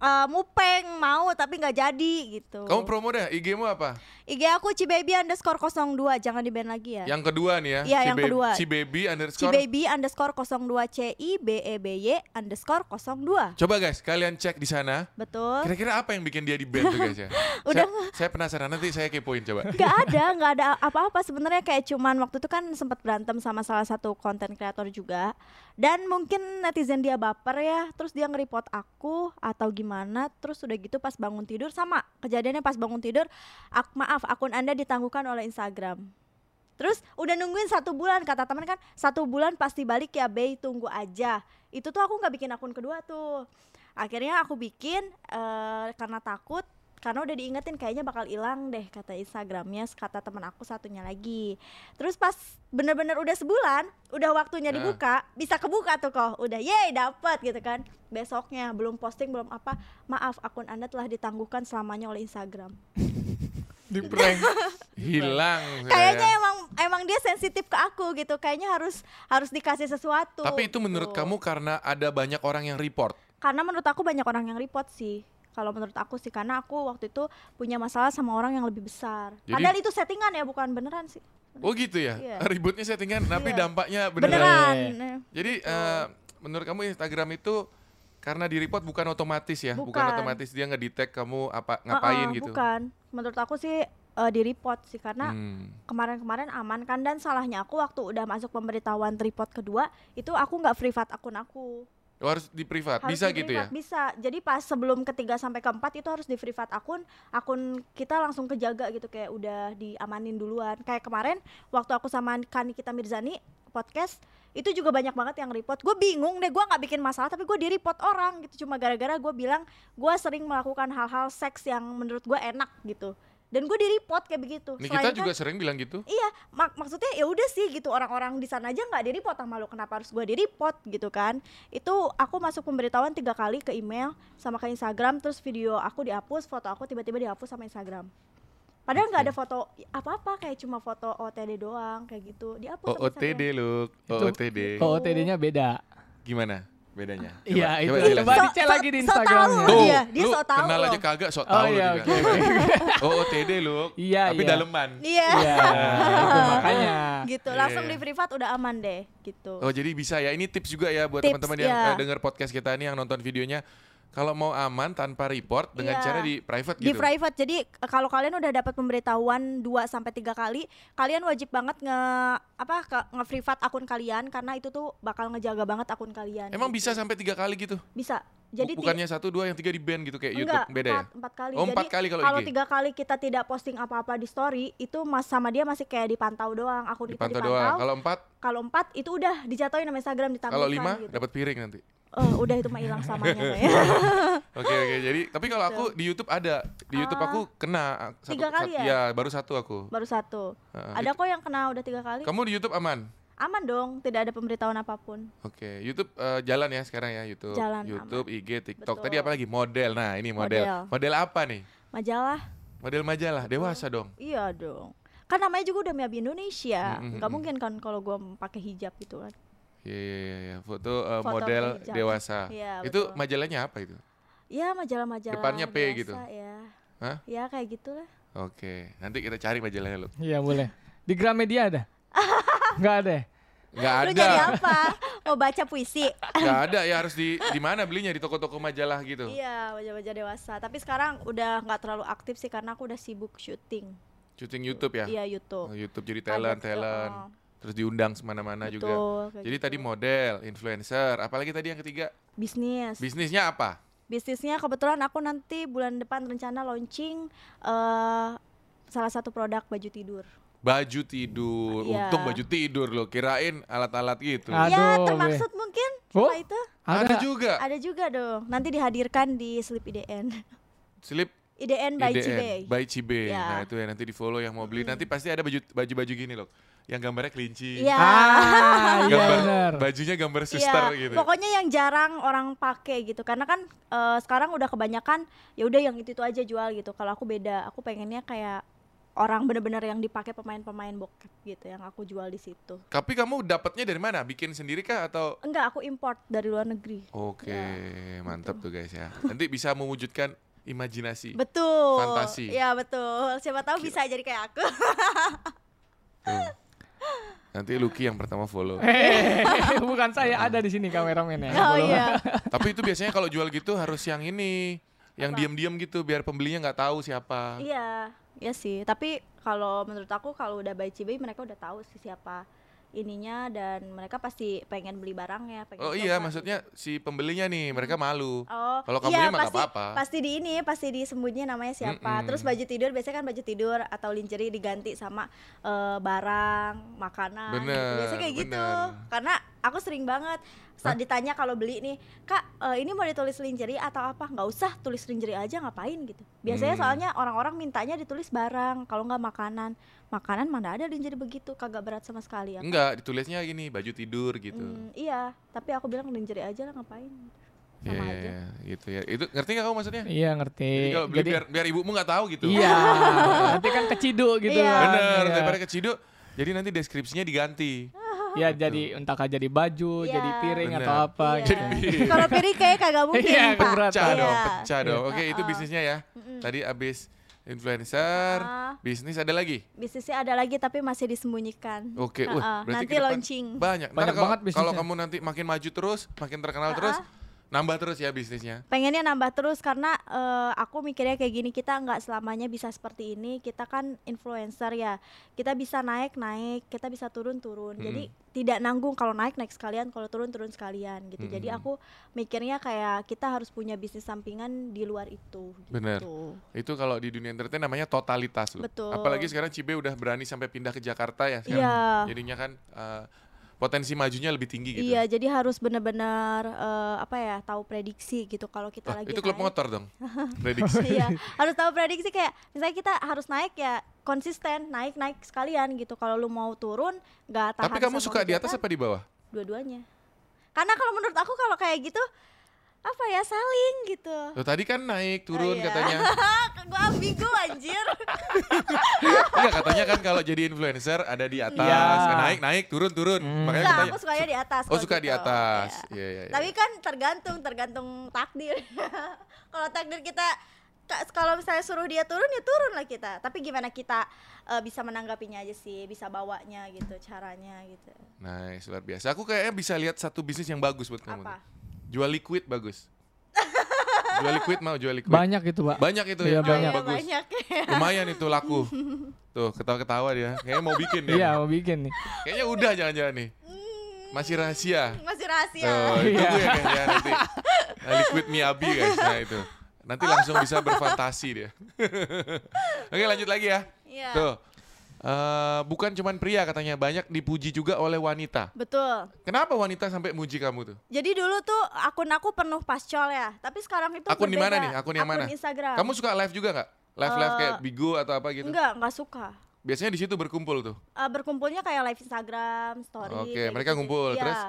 [SPEAKER 2] eh, mupeng mau tapi nggak jadi gitu
[SPEAKER 1] Kamu promo dah, IG-mu apa?
[SPEAKER 2] IG aku cibaby underscore 02 jangan di band lagi ya
[SPEAKER 1] Yang kedua nih ya.
[SPEAKER 2] Iya, yang kedua.
[SPEAKER 1] Si baby underscore.
[SPEAKER 2] cibaby underscore 02 c i b e b y underscore 02
[SPEAKER 1] Coba guys, kalian cek di sana.
[SPEAKER 2] betul
[SPEAKER 1] Kira-kira apa yang bikin dia di band tuh guys ya?
[SPEAKER 2] Udah
[SPEAKER 1] Saya, saya penasaran nanti saya kepoin coba.
[SPEAKER 2] nggak ada nggak ada apa-apa sebenarnya kayak cuman waktu itu kan sempat berantem sama salah satu konten kreator juga dan mungkin netizen dia baper ya terus dia nge-report aku atau gimana terus udah gitu pas bangun tidur sama kejadiannya pas bangun tidur ak- maaf akun anda ditangguhkan oleh Instagram terus udah nungguin satu bulan kata teman kan satu bulan pasti balik ya Bey tunggu aja itu tuh aku nggak bikin akun kedua tuh akhirnya aku bikin eh, karena takut karena udah diingetin kayaknya bakal hilang deh kata Instagramnya kata teman aku satunya lagi terus pas bener-bener udah sebulan udah waktunya
[SPEAKER 1] Nah.
[SPEAKER 2] dibuka bisa kebuka tuh kok udah yeay dapet gitu kan besoknya belum posting belum apa maaf akun anda telah ditangguhkan selamanya oleh Instagram
[SPEAKER 3] Di prank.
[SPEAKER 1] Hilang. ya. saya.
[SPEAKER 2] kayaknya emang emang dia sensitif ke aku gitu kayaknya harus harus dikasih sesuatu
[SPEAKER 1] Tapi itu menurut
[SPEAKER 2] gitu.
[SPEAKER 1] kamu karena ada banyak orang yang report.
[SPEAKER 2] karena menurut aku banyak orang yang report sih kalau menurut aku sih karena aku waktu itu punya masalah sama orang yang lebih besar
[SPEAKER 1] Jadi-
[SPEAKER 2] padahal itu settingan ya bukan beneran sih
[SPEAKER 1] Oh gitu ya.
[SPEAKER 2] Iya.
[SPEAKER 1] Ributnya settingan, tapi
[SPEAKER 2] Iya.
[SPEAKER 1] dampaknya beneran.
[SPEAKER 2] beneran,
[SPEAKER 3] Iya.
[SPEAKER 2] eh,
[SPEAKER 1] Jadi eh, menurut kamu Instagram itu karena di report bukan otomatis ya, bukan,
[SPEAKER 2] Bukan.
[SPEAKER 1] otomatis dia ngedetect kamu apa ngapain
[SPEAKER 2] eh, eh,
[SPEAKER 1] gitu.
[SPEAKER 2] bukan menurut aku sih eh, di report sih karena
[SPEAKER 1] Hmm.
[SPEAKER 2] kemarin-kemarin aman kan dan salahnya aku waktu udah masuk pemberitahuan report kedua itu aku nggak privat akun aku
[SPEAKER 1] Oh, harus di privat,
[SPEAKER 2] Harus
[SPEAKER 1] bisa
[SPEAKER 2] di
[SPEAKER 1] gitu ya.
[SPEAKER 2] privat, Bisa. Jadi pas sebelum ketiga sampai keempat itu harus di privat akun, akun kita langsung kejaga gitu kayak udah diamanin duluan. Kayak kemarin waktu aku sama Kani kita Mirzani podcast itu juga banyak banget yang report. Gue bingung deh, gue nggak bikin masalah tapi gue di report orang gitu cuma gara-gara gue bilang gue sering melakukan hal-hal seks yang menurut gue enak gitu. Dan gue di report kayak begitu.
[SPEAKER 1] Nih
[SPEAKER 2] Selain
[SPEAKER 1] kita
[SPEAKER 2] kan-
[SPEAKER 1] juga sering bilang gitu.
[SPEAKER 2] Iya, mak- maksudnya ya udah sih gitu orang-orang di sana aja nggak di report sama lu kenapa harus gua di report gitu kan? Itu aku masuk pemberitahuan tiga kali ke email sama ke Instagram terus video aku dihapus, foto aku tiba-tiba dihapus sama Instagram. Padahal nggak ada foto apa-apa kayak cuma foto OTD doang kayak gitu dihapus. sama Instagram.
[SPEAKER 1] OOTD loh, OOTD.
[SPEAKER 3] OOTD-nya beda.
[SPEAKER 1] Gimana bedanya? Coba-
[SPEAKER 3] Iya, itu.
[SPEAKER 1] jelasin.
[SPEAKER 3] Coba
[SPEAKER 2] So-
[SPEAKER 3] dicek
[SPEAKER 2] so-
[SPEAKER 3] lagi di
[SPEAKER 2] so
[SPEAKER 3] Instagram.
[SPEAKER 2] tahu
[SPEAKER 1] Tuh,
[SPEAKER 2] dia, dia
[SPEAKER 1] lu
[SPEAKER 2] so tahu
[SPEAKER 1] kenal
[SPEAKER 2] loh.
[SPEAKER 1] aja kan? kagak sok
[SPEAKER 3] Oh
[SPEAKER 1] tahu
[SPEAKER 3] iya
[SPEAKER 1] lu
[SPEAKER 3] oke.
[SPEAKER 1] juga. Oh,
[SPEAKER 3] oke.
[SPEAKER 1] OOTD lu.
[SPEAKER 3] Iya,
[SPEAKER 1] Tapi
[SPEAKER 3] iya.
[SPEAKER 1] daleman.
[SPEAKER 2] Iya.
[SPEAKER 3] Iya, itu makanya.
[SPEAKER 2] Gitu,
[SPEAKER 1] Iya,
[SPEAKER 2] langsung
[SPEAKER 1] iya.
[SPEAKER 2] di privat udah aman deh gitu.
[SPEAKER 1] Oh jadi bisa ya. Ini tips juga ya buat
[SPEAKER 2] Tips,
[SPEAKER 1] teman-teman yang
[SPEAKER 2] iya.
[SPEAKER 1] eh, dengar podcast kita ini yang nonton videonya. Kalau mau aman tanpa report dengan
[SPEAKER 2] Iya.
[SPEAKER 1] cara di private
[SPEAKER 2] di
[SPEAKER 1] gitu.
[SPEAKER 2] private. Jadi eh, kalau kalian udah dapat pemberitahuan 2 sampai 3 kali, kalian wajib banget nge apa ke, nge-privat akun kalian karena itu tuh bakal ngejaga banget akun kalian.
[SPEAKER 1] Emang
[SPEAKER 2] gitu.
[SPEAKER 1] bisa sampai tiga kali gitu?
[SPEAKER 2] Bisa. Jadi
[SPEAKER 1] Bu-
[SPEAKER 2] ti-
[SPEAKER 1] bukannya satu dua yang tiga di band gitu kayak
[SPEAKER 2] enggak,
[SPEAKER 1] YouTube beda ya?
[SPEAKER 2] empat, empat kali.
[SPEAKER 1] Oh, empat
[SPEAKER 2] Jadi
[SPEAKER 1] kali kalau
[SPEAKER 2] kalau
[SPEAKER 1] IG.
[SPEAKER 2] tiga kali kita tidak posting apa-apa di story, itu mas sama dia masih kayak dipantau doang, akun kita
[SPEAKER 1] Dipantau
[SPEAKER 2] dipantau.
[SPEAKER 1] doang. Kalau empat,
[SPEAKER 2] Kalau empat itu udah dijatuhin sama Instagram ditampilkan
[SPEAKER 1] kalau lima
[SPEAKER 2] gitu.
[SPEAKER 1] dapat piring nanti.
[SPEAKER 2] Eh, udah itu mah hilang samanya Maya.
[SPEAKER 1] Oke oke. Jadi tapi kalau aku di YouTube ada di YouTube
[SPEAKER 2] Ah.
[SPEAKER 1] aku kena satu,
[SPEAKER 2] Tiga kali
[SPEAKER 1] satu-
[SPEAKER 2] ya?
[SPEAKER 1] Iya baru satu aku.
[SPEAKER 2] Baru satu.
[SPEAKER 1] Heeh.
[SPEAKER 2] Ada kok yang kena udah tiga kali.
[SPEAKER 1] Kamu di YouTube aman?
[SPEAKER 2] Aman dong, tidak ada pemberitahuan apapun.
[SPEAKER 1] Oke, YouTube eh, jalan ya sekarang ya YouTube,
[SPEAKER 2] Jalan,
[SPEAKER 1] YouTube, IG, TikTok.
[SPEAKER 2] Betul.
[SPEAKER 1] Tadi apa lagi? Model. Nah ini model. Model,
[SPEAKER 2] Model.
[SPEAKER 1] apa nih?
[SPEAKER 2] Majalah
[SPEAKER 1] Model majalah. Dewasa dong.
[SPEAKER 2] Iya dong. Kan namanya juga udah Miabi Indonesia.
[SPEAKER 1] Mm, mm,
[SPEAKER 2] Nggak
[SPEAKER 1] mm.
[SPEAKER 2] mungkin kan kalau gua pakai hijab gitu kan.
[SPEAKER 1] Iya iya iya. iya. Foto, eh,
[SPEAKER 2] Foto
[SPEAKER 1] model
[SPEAKER 2] hijab.
[SPEAKER 1] dewasa.
[SPEAKER 2] Iya,
[SPEAKER 1] itu
[SPEAKER 2] betul.
[SPEAKER 1] majalahnya apa itu?
[SPEAKER 2] Ya majalah-majalah.
[SPEAKER 1] Depannya P
[SPEAKER 2] biasa
[SPEAKER 1] gitu.
[SPEAKER 2] Ya.
[SPEAKER 1] Hah?
[SPEAKER 2] Ya kayak gitulah.
[SPEAKER 1] Oke, nanti kita cari majalahnya lu.
[SPEAKER 3] Iya, boleh. Di Gramedia ada? Enggak ada. ya?
[SPEAKER 1] Nggak
[SPEAKER 2] Lu
[SPEAKER 1] ada.
[SPEAKER 2] jadi apa? Mau baca puisi?
[SPEAKER 1] Nggak ada ya harus di di mana belinya di toko-toko majalah gitu.
[SPEAKER 2] iya, majalah-majalah dewasa. Tapi sekarang udah nggak terlalu aktif sih karena aku udah sibuk syuting.
[SPEAKER 1] Syuting YouTube ya.
[SPEAKER 2] Iya,
[SPEAKER 1] Oh,
[SPEAKER 2] YouTube.
[SPEAKER 1] YouTube jadi talent,
[SPEAKER 2] Ada,
[SPEAKER 1] talent.
[SPEAKER 2] oh.
[SPEAKER 1] Terus diundang semana-mana
[SPEAKER 2] Betul,
[SPEAKER 1] juga.
[SPEAKER 2] kayak gitu.
[SPEAKER 1] Jadi tadi model, influencer, apalagi tadi yang ketiga,
[SPEAKER 2] Bisnis.
[SPEAKER 1] bisnisnya apa?
[SPEAKER 2] Bisnisnya kebetulan aku nanti bulan depan rencana launching eh salah satu produk baju tidur.
[SPEAKER 1] baju tidur.
[SPEAKER 2] Iya.
[SPEAKER 1] Untung baju tidur loh. Kirain alat-alat gitu.
[SPEAKER 3] Ah,
[SPEAKER 2] ya
[SPEAKER 3] Aduh,
[SPEAKER 2] termaksud mungkin
[SPEAKER 3] Oh.
[SPEAKER 2] setelah itu
[SPEAKER 1] Ada
[SPEAKER 3] Ada.
[SPEAKER 1] juga
[SPEAKER 2] ada juga dong nanti dihadirkan di slip IDN
[SPEAKER 1] slip
[SPEAKER 2] IDN by
[SPEAKER 1] IDN,
[SPEAKER 2] Cibay
[SPEAKER 1] by Cibe.
[SPEAKER 2] Ya.
[SPEAKER 1] Nah, itu ya nanti di follow yang mau beli. Nanti pasti ada baju baju-baju gini loh. Yang gambarnya kelinci.
[SPEAKER 2] Iya.
[SPEAKER 3] Ah, iya
[SPEAKER 1] Gambar
[SPEAKER 3] benar.
[SPEAKER 1] bajunya gambar sister
[SPEAKER 2] Iya,
[SPEAKER 1] gitu.
[SPEAKER 2] pokoknya yang jarang orang pakai gitu karena kan eh, sekarang udah kebanyakan ya udah yang itu itu aja jual gitu kalau aku beda aku pengennya kayak orang bener-bener yang dipakai pemain-pemain bokep gitu yang aku jual di situ
[SPEAKER 1] Tapi kamu dapatnya dari mana? Bikin sendiri kah atau
[SPEAKER 2] enggak aku import dari luar negeri
[SPEAKER 1] Oke,
[SPEAKER 2] Ya,
[SPEAKER 1] mantap tuh guys ya. Nanti bisa mewujudkan imajinasi.
[SPEAKER 2] betul
[SPEAKER 1] Fantasi.
[SPEAKER 2] ya betul siapa tahu bisa jadi kayak aku
[SPEAKER 1] Tuh. Nanti Lucky yang pertama follow.
[SPEAKER 3] Iya. Hehehe, bukan saya ada di sini ya. kameramennya.
[SPEAKER 2] oh
[SPEAKER 3] Belum.
[SPEAKER 2] iya
[SPEAKER 1] Tapi itu biasanya kalau jual gitu harus yang ini, yang
[SPEAKER 2] Apa?
[SPEAKER 1] diam-diam gitu biar pembelinya nggak tahu siapa.
[SPEAKER 2] iya iya sih tapi kalau menurut aku kalau udah by Cibay mereka udah tahu sih siapa ininya dan mereka pasti pengen beli barangnya pengen
[SPEAKER 1] Oh iya,
[SPEAKER 2] coba
[SPEAKER 1] maksudnya si pembelinya nih mereka malu.
[SPEAKER 2] Oh,
[SPEAKER 1] Kalau
[SPEAKER 2] Gitu kan. Hmm. iya,
[SPEAKER 1] kamunya mah nggak
[SPEAKER 2] pasti-
[SPEAKER 1] apa-apa.
[SPEAKER 2] Pasti di ini, pasti disembunyi namanya siapa.
[SPEAKER 1] Mm-mm.
[SPEAKER 2] Terus baju tidur biasanya kan baju tidur atau lingerie diganti sama eh, barang, makanan. gitu.
[SPEAKER 1] Bener,
[SPEAKER 2] Biasanya kayak gitu.
[SPEAKER 1] bener.
[SPEAKER 2] Karena aku sering banget saat ditanya kalau beli nih, "Kak, eh, ini mau ditulis lingerie atau apa?" nggak usah, tulis lingerie aja ngapain gitu. Biasanya
[SPEAKER 1] Hmm.
[SPEAKER 2] soalnya orang-orang mintanya ditulis barang, kalau nggak makanan. Makanan mana ada lingerie begitu, kagak berat sama sekali ya.
[SPEAKER 1] Enggak, ditulisnya gini, baju tidur gitu.
[SPEAKER 2] Mm, iya, tapi aku bilang lingerie aja lah ngapain. Hmm, Sama
[SPEAKER 1] Iya,
[SPEAKER 2] aja.
[SPEAKER 1] gitu ya. Itu ngerti nggak kamu maksudnya?
[SPEAKER 3] Iya ngerti.
[SPEAKER 1] Jadi kalau beli biar biar ibumu nggak tahu gitu.
[SPEAKER 3] Iya. Nanti kan keciduk gitu.
[SPEAKER 2] Iya.
[SPEAKER 3] kan.
[SPEAKER 1] Bener,
[SPEAKER 3] Iya.
[SPEAKER 1] daripada keciduk. Jadi nanti deskripsinya diganti.
[SPEAKER 2] Ah,
[SPEAKER 3] Ya jadi entah kah jadi baju,
[SPEAKER 2] Iya.
[SPEAKER 3] jadi piring
[SPEAKER 1] Benar.
[SPEAKER 3] atau apa
[SPEAKER 2] Iya.
[SPEAKER 3] gitu.
[SPEAKER 2] Kalau piring kayak kagak mungkin,
[SPEAKER 3] Iya,
[SPEAKER 2] Pak.
[SPEAKER 3] keberatan.
[SPEAKER 1] Pecah
[SPEAKER 2] Iya.
[SPEAKER 1] dong, pecah dong. Oke, itu
[SPEAKER 2] Uh-uh.
[SPEAKER 1] bisnisnya ya.
[SPEAKER 2] Mm-mm.
[SPEAKER 1] Tadi abis influencer,
[SPEAKER 2] Ah.
[SPEAKER 1] bisnis ada lagi.
[SPEAKER 2] Bisnisnya ada lagi tapi masih disembunyikan.
[SPEAKER 1] Oke, wah,
[SPEAKER 2] Heeh,
[SPEAKER 1] berarti
[SPEAKER 2] Ah, nanti
[SPEAKER 1] ke depan
[SPEAKER 2] launching.
[SPEAKER 1] Banyak. Ntar
[SPEAKER 3] Banyak
[SPEAKER 1] kalau-
[SPEAKER 3] banget bisnisnya.
[SPEAKER 1] Kalau kamu nanti makin maju terus, makin terkenal
[SPEAKER 2] Ah,
[SPEAKER 1] terus, nambah terus ya bisnisnya.
[SPEAKER 2] Pengennya nambah terus karena eh, aku mikirnya kayak gini kita nggak selamanya bisa seperti ini. Kita kan influencer ya. Kita bisa naik naik, kita bisa turun turun. Jadi
[SPEAKER 1] Hmm.
[SPEAKER 2] tidak nanggung kalau naik naik sekalian, kalau turun turun sekalian gitu. Jadi
[SPEAKER 1] Mm-mm.
[SPEAKER 2] aku mikirnya kayak kita harus punya bisnis sampingan di luar itu. Gitu.
[SPEAKER 1] Bener. Itu kalau di dunia entertain namanya totalitas loh.
[SPEAKER 2] Betul.
[SPEAKER 1] Apalagi sekarang Cibe udah berani sampai pindah ke Jakarta ya sekarang.
[SPEAKER 2] Iya.
[SPEAKER 1] Jadinya kan eh, potensi majunya lebih tinggi gitu.
[SPEAKER 2] Iya, jadi harus benar-benar eh, apa ya, tahu prediksi gitu kalau kita
[SPEAKER 1] Wah,
[SPEAKER 2] lagi
[SPEAKER 1] itu klub
[SPEAKER 2] naik.
[SPEAKER 1] motor dong. Prediksi.
[SPEAKER 2] iya harus tahu prediksi kayak misalnya kita harus naik ya konsisten naik naik sekalian gitu kalau lu mau turun nggak tahan
[SPEAKER 1] Tapi kamu
[SPEAKER 2] sama
[SPEAKER 1] suka di atas
[SPEAKER 2] hujatan,
[SPEAKER 1] apa di bawah?
[SPEAKER 2] dua-duanya karena kalau menurut aku kalau kayak gitu apa ya saling gitu
[SPEAKER 1] Loh, tadi kan naik turun
[SPEAKER 2] iya.
[SPEAKER 1] katanya.
[SPEAKER 2] gue ambigu anjir
[SPEAKER 1] Enggak katanya kan kalau jadi influencer ada di atas, Eh,
[SPEAKER 3] Iya. Hmm.
[SPEAKER 1] naik naik turun turun. Makanya
[SPEAKER 2] nggak
[SPEAKER 1] katanya.
[SPEAKER 2] Iya, aku sukanya di atas
[SPEAKER 1] Oh
[SPEAKER 2] kalau
[SPEAKER 1] suka di
[SPEAKER 2] gitu.
[SPEAKER 1] atas.
[SPEAKER 2] Iya.
[SPEAKER 1] Iya iya. iya.
[SPEAKER 2] Tapi kan tergantung, tergantung takdir. kalau takdir kita ka- kalau misalnya suruh dia turun ya turun lah kita. Tapi gimana kita eh, bisa menanggapinya aja sih, bisa bawanya gitu, caranya gitu.
[SPEAKER 1] Nice, luar biasa. Aku kayaknya bisa lihat satu bisnis yang bagus buat kamu.
[SPEAKER 2] Apa?
[SPEAKER 1] Jual liquid bagus. jual liquid mau jual liquid.
[SPEAKER 3] Banyak itu, Pak.
[SPEAKER 1] Banyak itu ya,
[SPEAKER 3] Iya,
[SPEAKER 2] Oh,
[SPEAKER 3] banyak.
[SPEAKER 2] iya,
[SPEAKER 1] bagus.
[SPEAKER 2] banyak.
[SPEAKER 1] Lumayan itu laku. Tuh, ketawa-ketawa dia. Kayaknya mau bikin dia.
[SPEAKER 3] Iya, mau bikin nih.
[SPEAKER 1] Kayaknya udah jangan-jangan nih. Masih rahasia.
[SPEAKER 2] Masih
[SPEAKER 1] Tuh,
[SPEAKER 2] rahasia.
[SPEAKER 1] tunggu
[SPEAKER 3] Iya.
[SPEAKER 1] ya kayaknya nanti. Nah, liquid Miyabi guys, nah itu. Nanti langsung bisa berfantasi dia. Oke, lanjut lagi ya.
[SPEAKER 2] Iya.
[SPEAKER 1] Tuh. Eh, bukan cuman pria katanya, banyak dipuji juga oleh wanita.
[SPEAKER 2] Betul.
[SPEAKER 1] Kenapa wanita sampai muji kamu tuh?
[SPEAKER 2] Jadi dulu tuh akun aku penuh pascol ya, tapi sekarang itu
[SPEAKER 1] Akun di mana nih?
[SPEAKER 2] berbeda.
[SPEAKER 1] Akun yang mana?
[SPEAKER 2] Instagram.
[SPEAKER 1] Kamu suka live juga nggak? Live live
[SPEAKER 2] Iya. Eh,
[SPEAKER 1] kayak Bigo atau apa gitu?
[SPEAKER 2] Enggak, enggak suka.
[SPEAKER 1] Biasanya di situ berkumpul tuh.
[SPEAKER 2] Eh, berkumpulnya kayak live Instagram, story.
[SPEAKER 1] Oke,
[SPEAKER 2] kayak
[SPEAKER 1] mereka
[SPEAKER 2] gitu-gitu.
[SPEAKER 1] ngumpul,
[SPEAKER 2] Iya.
[SPEAKER 1] terus?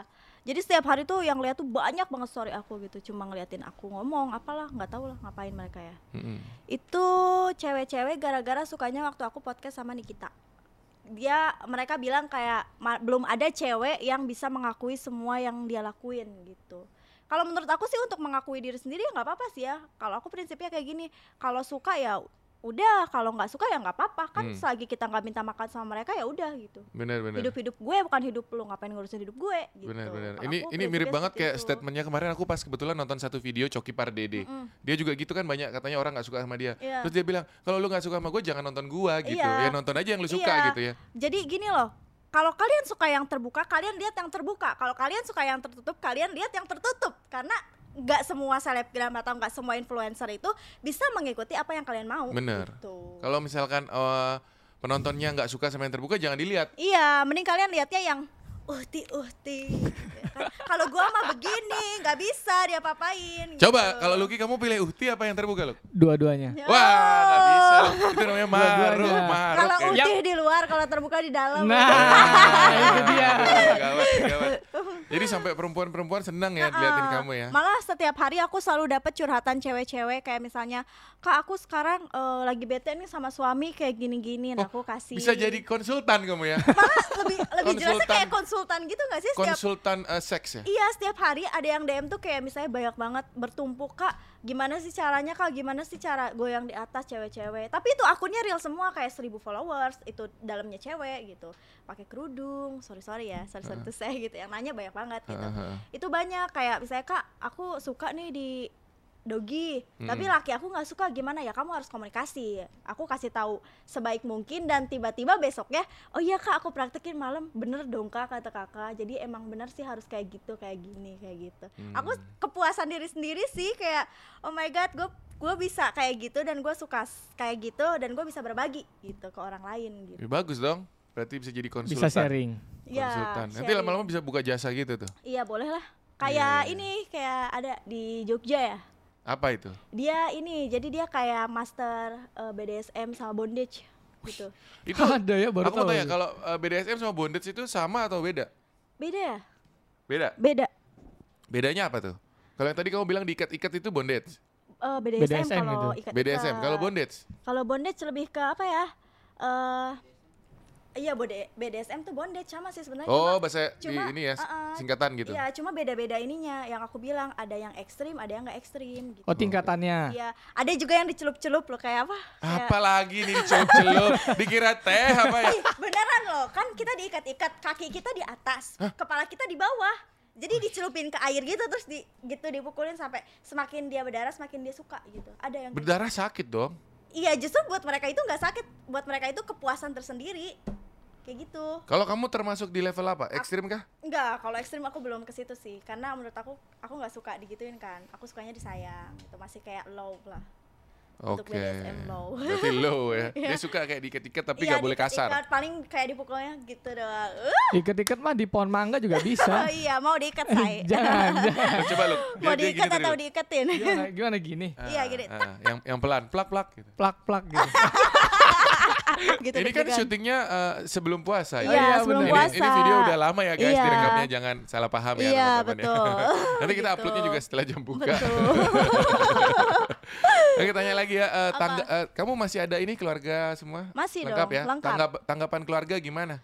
[SPEAKER 2] Jadi setiap hari tuh yang lihat tuh banyak banget story aku gitu, cuma ngeliatin aku ngomong, apalah, nggak tahu lah ngapain mereka ya.
[SPEAKER 1] Mm-mm.
[SPEAKER 2] Itu cewek-cewek gara-gara sukanya waktu aku podcast sama Nikita. Dia mereka bilang kayak "Ma- belum ada cewek yang bisa mengakui semua yang dia lakuin gitu. Kalau menurut aku sih untuk mengakui diri sendiri ya nggak apa-apa sih ya. Kalau aku prinsipnya kayak gini, kalau suka ya udah, kalau nggak suka ya nggak apa-apa kan.
[SPEAKER 1] Hmm.
[SPEAKER 2] Selagi kita nggak minta makan sama mereka ya udah gitu
[SPEAKER 1] Bener bener.
[SPEAKER 2] hidup hidup gue bukan hidup lu ngapain ngurusin hidup gue gitu
[SPEAKER 1] Benar benar.
[SPEAKER 2] Kalau
[SPEAKER 1] Ini
[SPEAKER 2] aku
[SPEAKER 1] ini mirip
[SPEAKER 2] prinsipnya
[SPEAKER 1] banget
[SPEAKER 2] seperti
[SPEAKER 1] kayak
[SPEAKER 2] itu.
[SPEAKER 1] statementnya kemarin aku pas kebetulan nonton satu video Coki Pardede.
[SPEAKER 2] gitu. Mm-mm.
[SPEAKER 1] Dia juga gitu kan banyak katanya orang nggak suka sama dia.
[SPEAKER 2] Iya.
[SPEAKER 1] Terus dia bilang, "Kalau lu nggak suka sama gue jangan nonton gua gitu.
[SPEAKER 2] Iya.
[SPEAKER 1] Ya nonton aja yang lu suka
[SPEAKER 2] Iya.
[SPEAKER 1] gitu ya."
[SPEAKER 2] jadi gini loh kalau kalian suka yang terbuka kalian lihat yang terbuka kalau kalian suka yang tertutup kalian lihat yang tertutup karena nggak semua selebgram atau nggak semua influencer itu bisa mengikuti apa yang kalian mau
[SPEAKER 1] Bener.
[SPEAKER 2] gitu.
[SPEAKER 1] Kalau misalkan eh, penontonnya nggak suka sama yang terbuka jangan dilihat.
[SPEAKER 2] Iya, mending kalian lihatnya yang uhti uhti. Ya kan? kalau gua mah begini, nggak bisa gitu. dia papain.
[SPEAKER 1] Coba kalau Lucky kamu pilih Uhti apa yang terbuka Luk?
[SPEAKER 2] Iya,
[SPEAKER 3] Dua-duanya.
[SPEAKER 2] Ya
[SPEAKER 1] Wah, nggak bisa. Luk. Itu namanya maruk,
[SPEAKER 3] Dua-duanya.
[SPEAKER 1] maruk.
[SPEAKER 2] Kalau
[SPEAKER 1] Eh,
[SPEAKER 2] uhti di luar, kalau terbuka di dalam.
[SPEAKER 3] Nah, itu dia.
[SPEAKER 1] Gawat, gawat. Jadi sampai perempuan-perempuan senang ya diliatin
[SPEAKER 2] Ah,
[SPEAKER 1] kamu ya.
[SPEAKER 2] Malah setiap hari aku selalu dapat curhatan cewek-cewek kayak misalnya, "Kak, aku sekarang eh, lagi bete nih sama suami kayak gini-gini." Nah, aku kasih.
[SPEAKER 1] Oh, Bisa jadi konsultan kamu ya.
[SPEAKER 2] malah lebih lebih jelasnya
[SPEAKER 1] Konsultan.
[SPEAKER 2] kayak konsultan gitu nggak sih setiap
[SPEAKER 1] konsultan eh, seks ya.
[SPEAKER 2] Iya setiap hari ada yang DM tuh kayak misalnya banyak banget bertumpuk kak gimana sih caranya kak gimana sih cara goyang di atas cewek-cewek tapi itu akunnya real semua kayak 1000 followers itu dalamnya cewek gitu pakai kerudung sorry sorry ya sorry sorry tuh saya gitu yang nanya banyak banget gitu
[SPEAKER 1] Heeh, heeh.
[SPEAKER 2] itu banyak kayak misalnya kak aku suka nih di dogi tapi
[SPEAKER 1] Mm-mm.
[SPEAKER 2] laki aku nggak suka gimana ya kamu harus komunikasi aku kasih tahu sebaik mungkin dan tiba-tiba besoknya oh iya kak aku praktekin malam bener dong kak kata kakak jadi emang bener sih harus kayak gitu kayak gini kayak gitu aku
[SPEAKER 1] Hmm.
[SPEAKER 2] kepuasan diri sendiri sih kayak oh my god gue gue bisa kayak gitu dan gue suka s- kayak gitu dan gue bisa berbagi gitu ke orang lain gitu
[SPEAKER 1] Ya, bagus dong. Berarti bisa jadi konsultan.
[SPEAKER 3] Bisa sharing.
[SPEAKER 2] Iya,
[SPEAKER 1] Konsultan. Nanti
[SPEAKER 2] sharing.
[SPEAKER 1] lama-lama bisa buka jasa gitu tuh.
[SPEAKER 2] iya boleh lah
[SPEAKER 1] Iya,
[SPEAKER 2] kayak
[SPEAKER 1] iya.
[SPEAKER 2] ini kayak ada di Jogja ya
[SPEAKER 1] Apa itu?
[SPEAKER 2] dia ini jadi dia kayak master eh, BDSM sama bondage gitu
[SPEAKER 1] Itu
[SPEAKER 3] Ada ya baru
[SPEAKER 1] aku mau
[SPEAKER 3] tahu.
[SPEAKER 1] tanya kalau eh, BDSM sama bondage itu sama atau beda?
[SPEAKER 2] beda ya
[SPEAKER 1] Beda.
[SPEAKER 2] beda
[SPEAKER 1] Bedanya apa tuh? Kalau yang tadi kamu bilang diikat-ikat itu bondage.
[SPEAKER 2] Eh, BDSM,
[SPEAKER 3] BDSM
[SPEAKER 2] kalau
[SPEAKER 3] gitu.
[SPEAKER 2] ikat
[SPEAKER 1] BDSM. Kalau bondage?
[SPEAKER 2] kalau bondage lebih ke apa ya Eh iya bode- BDSM tuh bondage sama sih sebenarnya
[SPEAKER 1] Oh,
[SPEAKER 2] cuma-
[SPEAKER 1] bahasa di-
[SPEAKER 2] cuma-
[SPEAKER 1] ini ya,
[SPEAKER 2] uh-uh.
[SPEAKER 1] singkatan gitu.
[SPEAKER 2] iya cuma beda-beda ininya yang aku bilang ada yang ekstrim ada yang nggak ekstrim gitu
[SPEAKER 3] Oh tingkatannya.
[SPEAKER 2] Iya, ada juga yang dicelup-celup loh kayak apa? Kayak-
[SPEAKER 1] Apalagi nih dicelup-celup, dikira teh apa ya?
[SPEAKER 2] Ih, Eh, beneran loh, kan kita diikat-ikat, kaki kita di atas, kepala kita di bawah. Jadi dicelupin ke air gitu terus di gitu dipukulin sampai semakin dia berdarah semakin dia suka gitu. Ada yang gitu.
[SPEAKER 1] Berdarah sakit dong.
[SPEAKER 2] Iya, justru buat mereka itu nggak sakit, buat mereka itu kepuasan tersendiri. Kayak gitu.
[SPEAKER 1] Kalau kamu termasuk di level apa? Ekstrim kah?
[SPEAKER 2] Enggak, kalau ekstrim aku belum ke situ sih. Karena menurut aku aku nggak suka digituin kan. Aku sukanya disayang. Itu masih kayak low lah. Untuk
[SPEAKER 1] Oke.
[SPEAKER 2] BDSM low.
[SPEAKER 1] Berarti low ya. Dia suka kayak diikat-ikat tapi
[SPEAKER 2] Iya,
[SPEAKER 1] nggak boleh kasar.
[SPEAKER 2] diikat-ikat, paling kayak dipukulnya gitu doang.
[SPEAKER 3] Ikat-ikat mah di pohon mangga juga
[SPEAKER 2] oh
[SPEAKER 3] bisa.
[SPEAKER 2] iya, mau diikat saya.
[SPEAKER 3] jangan, jangan.
[SPEAKER 1] Lu Coba lu. Eh,
[SPEAKER 2] mau
[SPEAKER 1] dia- dia
[SPEAKER 2] diikat
[SPEAKER 1] gini tuh
[SPEAKER 2] atau
[SPEAKER 1] dulu.
[SPEAKER 2] diiketin
[SPEAKER 3] Gimana, gimana gini?
[SPEAKER 1] Ah,
[SPEAKER 2] Iya, gini.
[SPEAKER 1] ah, yang yang pelan, plak-plak gitu.
[SPEAKER 3] Plak-plak gitu.
[SPEAKER 2] gitu
[SPEAKER 1] Ini kan
[SPEAKER 2] deg-degan.
[SPEAKER 1] syutingnya eh, sebelum puasa ya.
[SPEAKER 2] Iya,
[SPEAKER 3] iya,
[SPEAKER 2] sebelum
[SPEAKER 1] Ini-
[SPEAKER 2] puasa
[SPEAKER 1] Ini, video udah lama ya guys,
[SPEAKER 2] Iya.
[SPEAKER 1] direkamnya jangan salah paham ya
[SPEAKER 2] Iya,
[SPEAKER 1] teman-teman ya.
[SPEAKER 2] betul.
[SPEAKER 1] Nanti kita
[SPEAKER 2] Gitu.
[SPEAKER 1] uploadnya juga kan? setelah jam buka.
[SPEAKER 2] betul
[SPEAKER 1] Oke, tanya lagi ya. eh, tangga, eh, kamu masih ada ini keluarga semua?
[SPEAKER 2] Masih
[SPEAKER 1] lengkap
[SPEAKER 2] dong,
[SPEAKER 1] ya.
[SPEAKER 2] lengkap.
[SPEAKER 1] Tanggap- tanggapan keluarga gimana?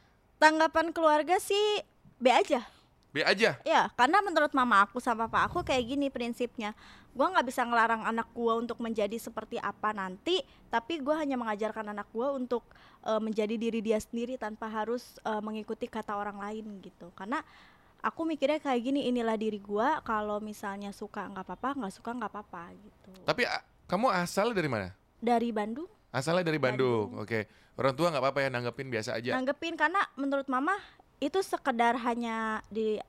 [SPEAKER 2] tanggapan keluarga sih B aja
[SPEAKER 1] B aja.
[SPEAKER 2] ya karena menurut mama aku sama papa aku kayak gini prinsipnya gua nggak bisa ngelarang anak gua untuk menjadi seperti apa nanti tapi gua hanya mengajarkan anak gua untuk eh, menjadi diri dia sendiri tanpa harus eh, mengikuti kata orang lain gitu karena aku mikirnya kayak gini inilah diri gua kalau misalnya suka nggak apa-apa nggak suka nggak apa-apa gitu
[SPEAKER 1] Tapi a- kamu asal dari mana?
[SPEAKER 2] dari Bandung
[SPEAKER 1] Asalnya dari Bandung.
[SPEAKER 2] Bandung.
[SPEAKER 1] Oke. Orang tua nggak apa-apa ya nanggepin biasa aja.
[SPEAKER 2] nanggepin karena menurut mama itu sekedar hanya di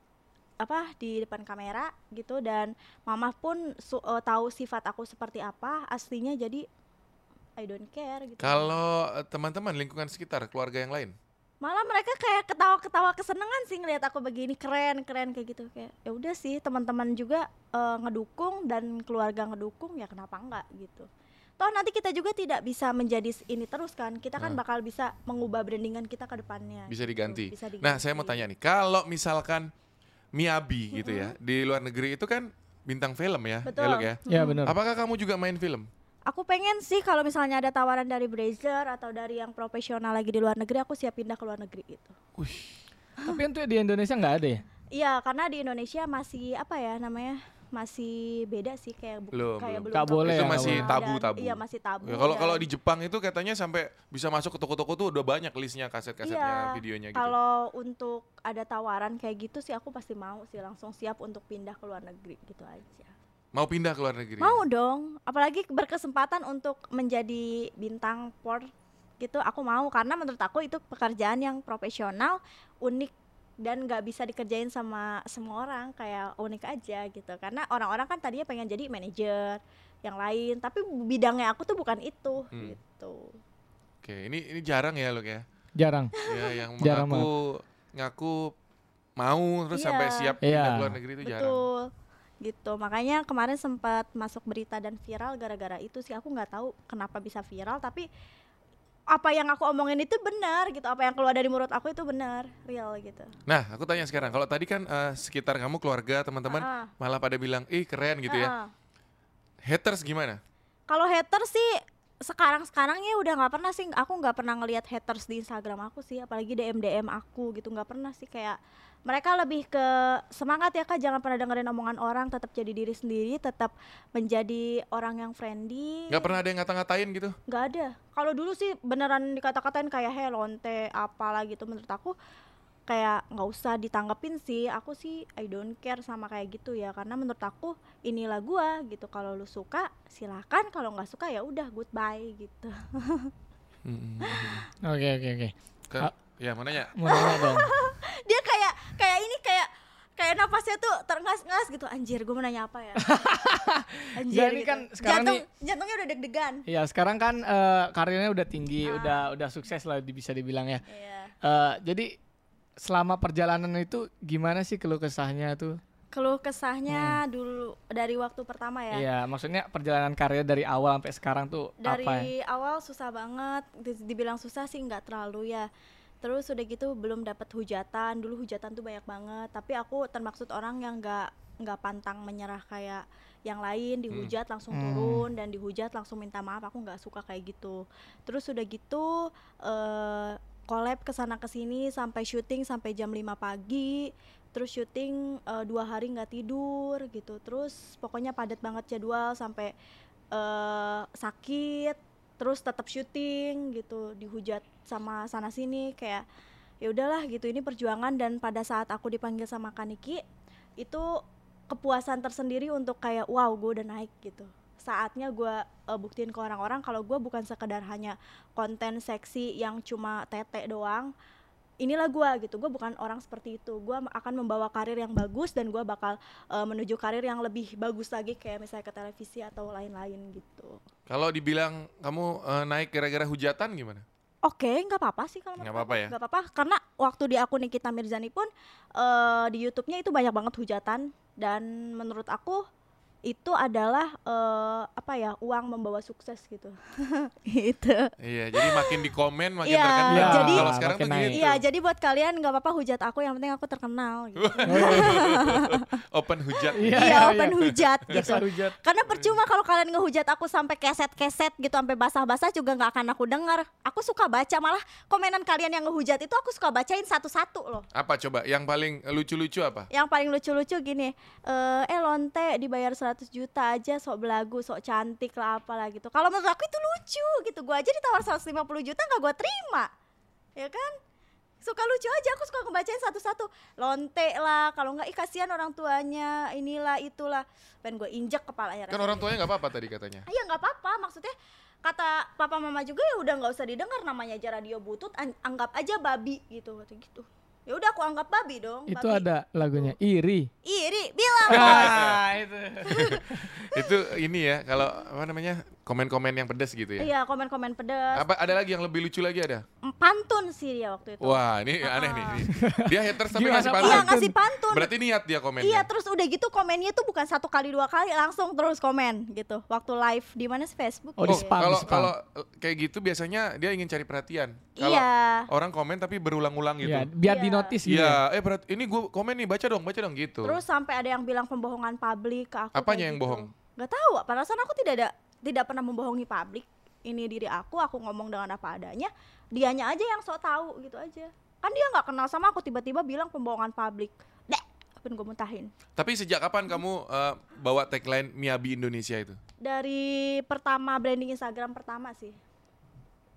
[SPEAKER 2] apa di depan kamera gitu dan mama pun su- eh, tahu sifat aku seperti apa aslinya jadi I don't care gitu.
[SPEAKER 1] Kalau eh, teman-teman lingkungan sekitar, keluarga yang lain.
[SPEAKER 2] Malah mereka kayak ketawa-ketawa kesenangan sih ngelihat aku begini keren keren kayak gitu kayak ya udah sih teman-teman juga eh, ngedukung dan keluarga ngedukung ya kenapa enggak gitu. Toh nanti kita juga tidak bisa menjadi ini terus kan kita kan bakal bisa mengubah brandingan kita ke depannya.
[SPEAKER 1] Nah. Bisa
[SPEAKER 2] gitu.
[SPEAKER 1] diganti.
[SPEAKER 2] Bisa
[SPEAKER 1] Nah, saya mau
[SPEAKER 2] diganti.
[SPEAKER 1] tanya nih, kalau misalkan Miyabi gitu ya, di luar negeri itu kan bintang film ya, ya,
[SPEAKER 2] Betul.
[SPEAKER 1] Luk ya.
[SPEAKER 3] Ya benar.
[SPEAKER 1] Apakah kamu juga main film?
[SPEAKER 2] Aku pengen sih kalau misalnya ada tawaran dari Brazzer atau dari yang profesional lagi di luar negeri, aku siap pindah ke luar negeri gitu.
[SPEAKER 1] Wih,
[SPEAKER 3] Tapi untuk di Indonesia nggak ada ya?
[SPEAKER 2] Iya, karena di Indonesia masih apa ya namanya? Masih beda sih kayak bu-
[SPEAKER 1] Belum,
[SPEAKER 2] kayak
[SPEAKER 1] belum.
[SPEAKER 2] belum.
[SPEAKER 3] Tak boleh ya,
[SPEAKER 2] terkenal
[SPEAKER 3] Itu masih
[SPEAKER 2] dan-
[SPEAKER 1] tabu-tabu.
[SPEAKER 2] Iya, masih tabu.
[SPEAKER 1] Ya, kalau
[SPEAKER 2] dan-
[SPEAKER 1] kalau di Jepang itu katanya sampai bisa masuk ke toko-toko tuh udah banyak listnya kaset-kasetnya,
[SPEAKER 2] Iya,
[SPEAKER 1] videonya gitu.
[SPEAKER 2] Kalau untuk ada tawaran kayak gitu sih aku pasti mau sih langsung siap untuk pindah ke luar negeri gitu aja.
[SPEAKER 1] Mau pindah ke luar negeri?
[SPEAKER 2] Mau dong, apalagi berkesempatan untuk menjadi bintang por gitu aku mau karena menurut aku itu pekerjaan yang profesional, unik dan nggak bisa dikerjain sama semua orang kayak unik aja gitu karena orang-orang kan tadinya pengen jadi manajer yang lain tapi bidangnya aku tuh bukan itu
[SPEAKER 1] Hmm.
[SPEAKER 2] gitu
[SPEAKER 1] Oke, Oke, ini ini jarang ya, Luk ya.
[SPEAKER 3] Jarang.
[SPEAKER 1] Ya yang
[SPEAKER 3] Jarang
[SPEAKER 1] mengaku ngaku mau terus
[SPEAKER 2] Iya.
[SPEAKER 1] sampai siap
[SPEAKER 3] Iya.
[SPEAKER 1] pindah ke luar negeri itu jarang.
[SPEAKER 2] Betul. Gitu. Makanya kemarin sempat masuk berita dan viral gara-gara itu sih. Aku nggak tahu kenapa bisa viral tapi apa yang aku omongin itu benar gitu. Apa yang keluar dari mulut aku itu benar, real gitu.
[SPEAKER 1] Nah, aku tanya sekarang, kalau tadi kan eh, sekitar kamu keluarga, teman-teman
[SPEAKER 2] Ah.
[SPEAKER 1] malah pada bilang, "Ih, keren" gitu ya.
[SPEAKER 2] Heeh.
[SPEAKER 1] Haters gimana?
[SPEAKER 2] Kalau hater sih sekarang-sekarangnya udah nggak pernah sih aku nggak pernah ngelihat haters di Instagram aku sih apalagi DM DM aku gitu nggak pernah sih kayak mereka lebih ke semangat ya kak jangan pernah dengerin omongan orang tetap jadi diri sendiri tetap menjadi orang yang friendly
[SPEAKER 1] Nggak pernah ada yang ngata-ngatain gitu.
[SPEAKER 2] nggak ada kalau dulu sih beneran dikata-katain kayak hey lonte apalah gitu menurut aku kayak nggak usah ditanggepin sih aku sih I don't care sama kayak gitu ya karena menurut aku inilah gua gitu kalau lu suka silakan kalau nggak suka ya udah goodbye gitu
[SPEAKER 1] Mm, mm, mm.
[SPEAKER 3] Oke oke oke.
[SPEAKER 1] Ke-
[SPEAKER 3] Ah.
[SPEAKER 1] Ya, mau nanya?
[SPEAKER 3] Mau nanya dong.
[SPEAKER 2] dia kayak kayak ini kayak kayak nafasnya tuh terengas-ngas gitu anjir gua mau nanya apa ya anjir
[SPEAKER 3] Nggak, ini kan sekarang
[SPEAKER 2] jantung
[SPEAKER 3] nih-
[SPEAKER 2] jantungnya udah deg-degan
[SPEAKER 3] Iya sekarang kan eh, karirnya udah tinggi, udah udah sukses lah di- bisa dibilang ya.
[SPEAKER 2] Iya.
[SPEAKER 3] Eh, jadi selama perjalanan itu gimana sih keluh kesahnya tuh?
[SPEAKER 2] keluh kesahnya dulu dari waktu pertama ya
[SPEAKER 3] Iya, maksudnya perjalanan karirnya dari awal sampai sekarang tuh apa? ya?
[SPEAKER 2] dari awal susah banget Di- dibilang susah sih nggak terlalu ya terus udah gitu belum dapat hujatan dulu hujatan tuh banyak banget tapi aku termaksud orang yang nggak nggak pantang menyerah kayak yang lain dihujat langsung
[SPEAKER 3] Hmm.
[SPEAKER 2] turun dan dihujat langsung minta maaf aku nggak suka kayak gitu terus udah gitu eh collab kesana kesini sampai syuting sampai jam 5 pagi terus syuting eh, dua hari nggak tidur gitu terus pokoknya padat banget jadwal sampai eh sakit terus tetap syuting gitu dihujat sama sana sini kayak ya udahlah gitu ini perjuangan dan pada saat aku dipanggil sama Kaniki itu kepuasan tersendiri untuk kayak wow gue udah naik gitu saatnya gue eh, buktiin ke orang-orang kalau gue bukan sekedar hanya konten seksi yang cuma tete doang inilah gue gitu gue bukan orang seperti itu gue akan membawa karir yang bagus dan gue bakal eh, menuju karir yang lebih bagus lagi kayak misalnya ke televisi atau lain-lain gitu
[SPEAKER 1] Kalau dibilang kamu eh, naik gara-gara hujatan gimana?
[SPEAKER 2] Oke, nggak apa-apa sih kalau
[SPEAKER 1] Nggak
[SPEAKER 2] menurut
[SPEAKER 1] apa-apa
[SPEAKER 2] aku.
[SPEAKER 1] ya?
[SPEAKER 2] Nggak apa-apa karena waktu di akun Nikita Mirzani pun eh, di YouTube-nya itu banyak banget hujatan dan menurut aku itu adalah eh, apa ya uang membawa sukses gitu. itu.
[SPEAKER 1] Iya, jadi makin dikomen makin
[SPEAKER 2] Iya,
[SPEAKER 1] terkenal.
[SPEAKER 2] jadi-
[SPEAKER 1] kalau sekarang tuh
[SPEAKER 3] makin naik.
[SPEAKER 1] gitu.
[SPEAKER 2] Iya, jadi buat kalian nggak apa-apa hujat aku yang penting aku terkenal. Gitu.
[SPEAKER 3] Oh,
[SPEAKER 1] Open hujat.
[SPEAKER 3] Iya.
[SPEAKER 2] Iya, open
[SPEAKER 3] iya.
[SPEAKER 2] hujat
[SPEAKER 3] Jasa
[SPEAKER 2] gitu.
[SPEAKER 3] hujat.
[SPEAKER 2] Karena percuma kalau kalian ngehujat aku sampai keset-keset gitu sampai basah-basah juga nggak akan aku dengar. Aku suka baca malah komenan kalian yang ngehujat itu aku suka bacain satu-satu loh.
[SPEAKER 1] Apa coba? Yang paling lucu-lucu apa?
[SPEAKER 2] yang paling lucu-lucu gini eh eh lonte dibayar 100 juta aja sok belagu sok cantik lah apalah gitu kalau menurut aku itu lucu gitu gua aja ditawar 150 juta nggak gua terima ya kan suka lucu aja aku suka ngebacain satu-satu lonte lah kalau nggak ih kasihan orang tuanya inilah itulah pengen gue injek kepalanya
[SPEAKER 1] Kan orang tuanya nggak apa-apa tadi katanya.
[SPEAKER 2] Iya nggak apa-apa maksudnya kata papa mama juga ya udah nggak usah didengar namanya aja radio butut an- anggap aja babi gitu kata gitu ya udah aku anggap babi dong
[SPEAKER 3] Itu
[SPEAKER 2] babi.
[SPEAKER 3] ada lagunya Iri.
[SPEAKER 2] iri bilang
[SPEAKER 3] Ah, itu.
[SPEAKER 1] Itu ini ya, kalau apa namanya? Komen-komen yang pedes gitu ya.
[SPEAKER 2] Iya komen-komen pedas.
[SPEAKER 1] Apa ada lagi yang lebih lucu lagi ada?
[SPEAKER 2] Pantun sih dia waktu itu.
[SPEAKER 1] Wah, ini aneh nih. ini. Dia haters tapi
[SPEAKER 3] Gimana,
[SPEAKER 1] ngasih
[SPEAKER 3] Pak?
[SPEAKER 2] Ah. Iya
[SPEAKER 1] pantun.
[SPEAKER 2] ngasih pantun.
[SPEAKER 1] Berarti niat dia komennya.
[SPEAKER 2] Iya terus udah gitu komennya tuh bukan satu kali dua kali langsung terus komen gitu waktu live di mana sih Facebook?
[SPEAKER 3] Oh, di
[SPEAKER 2] ya?
[SPEAKER 3] spam,
[SPEAKER 1] Kalau
[SPEAKER 3] spam.
[SPEAKER 1] kalau eh, kayak gitu biasanya dia ingin cari perhatian. Kalau
[SPEAKER 2] Iya.
[SPEAKER 1] orang komen tapi berulang-ulang gitu.
[SPEAKER 3] Iya, biar
[SPEAKER 2] Iya.
[SPEAKER 3] di notice gitu. ya.
[SPEAKER 1] Iya, eh berat ini gue komen nih baca dong, baca dong gitu.
[SPEAKER 2] Terus sampai ada yang bilang pembohongan publik ke aku.
[SPEAKER 1] Apanya
[SPEAKER 2] kayak
[SPEAKER 1] yang
[SPEAKER 2] gitu.
[SPEAKER 1] bohong?
[SPEAKER 2] Gak tahu. Perasaan aku tidak ada tidak pernah membohongi publik. Ini diri aku, aku ngomong dengan apa adanya. Dianya aja yang sok tahu gitu aja. Kan dia nggak kenal sama aku tiba-tiba bilang pembohongan publik. Dek, pun gue muntahin.
[SPEAKER 1] Tapi sejak kapan kamu eh, bawa tagline Miabi Indonesia itu?
[SPEAKER 2] Dari pertama branding Instagram pertama sih.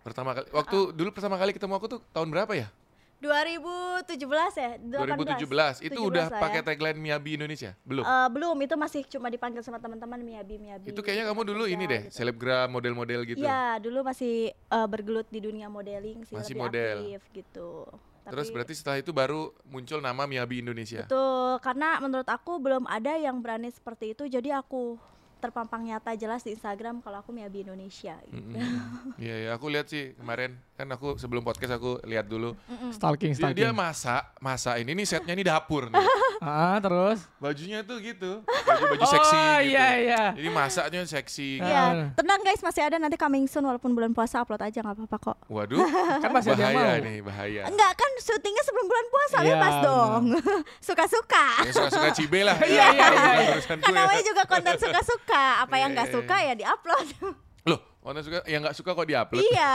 [SPEAKER 1] Pertama kali waktu
[SPEAKER 2] Ah.
[SPEAKER 1] dulu pertama kali ketemu aku tuh tahun berapa ya?
[SPEAKER 2] 2017 ya?
[SPEAKER 1] 2017.
[SPEAKER 2] 18.
[SPEAKER 1] Itu udah
[SPEAKER 2] 17 lah
[SPEAKER 1] pakai
[SPEAKER 2] ya.
[SPEAKER 1] tagline Miabi Indonesia? Belum.
[SPEAKER 2] Eh, belum, itu masih cuma dipanggil sama teman-teman Miabi Miabi.
[SPEAKER 1] itu kayaknya kamu dulu ini
[SPEAKER 2] Iya,
[SPEAKER 1] deh,
[SPEAKER 2] gitu.
[SPEAKER 1] selebgram model-model gitu.
[SPEAKER 2] Iya, dulu masih eh, bergelut di dunia modeling sih,
[SPEAKER 1] Masih
[SPEAKER 2] lebih
[SPEAKER 1] model.
[SPEAKER 2] aktif gitu.
[SPEAKER 1] Terus
[SPEAKER 2] Tapi-
[SPEAKER 1] berarti ya? setelah itu baru muncul nama Miabi Indonesia.
[SPEAKER 2] Betul, karena menurut aku belum ada yang berani seperti itu, jadi aku terpampang nyata jelas di Instagram kalau aku Miabi Indonesia. gitu.
[SPEAKER 1] Mm-mm. Iya ya, aku lihat sih kemarin kan aku sebelum podcast aku lihat dulu.
[SPEAKER 3] Stalking,
[SPEAKER 1] Dia, dia
[SPEAKER 3] stalking.
[SPEAKER 1] masak, masak ini nih setnya ini dapur nih.
[SPEAKER 3] Ah, terus.
[SPEAKER 1] Bajunya tuh gitu, baju-baju seksi
[SPEAKER 3] Oh,
[SPEAKER 1] gitu.
[SPEAKER 3] iya iya.
[SPEAKER 1] Jadi masaknya seksi.
[SPEAKER 3] Ah.
[SPEAKER 1] gitu.
[SPEAKER 2] Iya, tenang guys masih ada nanti coming soon walaupun bulan puasa upload aja nggak apa-apa kok.
[SPEAKER 1] Waduh,
[SPEAKER 3] Kan masih ada yang
[SPEAKER 1] bahaya
[SPEAKER 3] mau.
[SPEAKER 1] nih, bahaya.
[SPEAKER 2] Enggak kan syutingnya sebelum bulan puasa
[SPEAKER 3] Iya,
[SPEAKER 2] bebas
[SPEAKER 3] benar.
[SPEAKER 2] dong. Suka-suka.
[SPEAKER 1] Ya suka-suka cibe lah.
[SPEAKER 3] Iya, iya, iya, iya.
[SPEAKER 1] Urusan
[SPEAKER 2] Kan
[SPEAKER 1] gue.
[SPEAKER 2] namanya juga konten suka-suka. Apa yang
[SPEAKER 1] Iya,
[SPEAKER 2] nggak
[SPEAKER 1] iya,
[SPEAKER 2] suka ya diupload.
[SPEAKER 1] Loh, orang suka yang nggak suka kok diupload.
[SPEAKER 2] iya.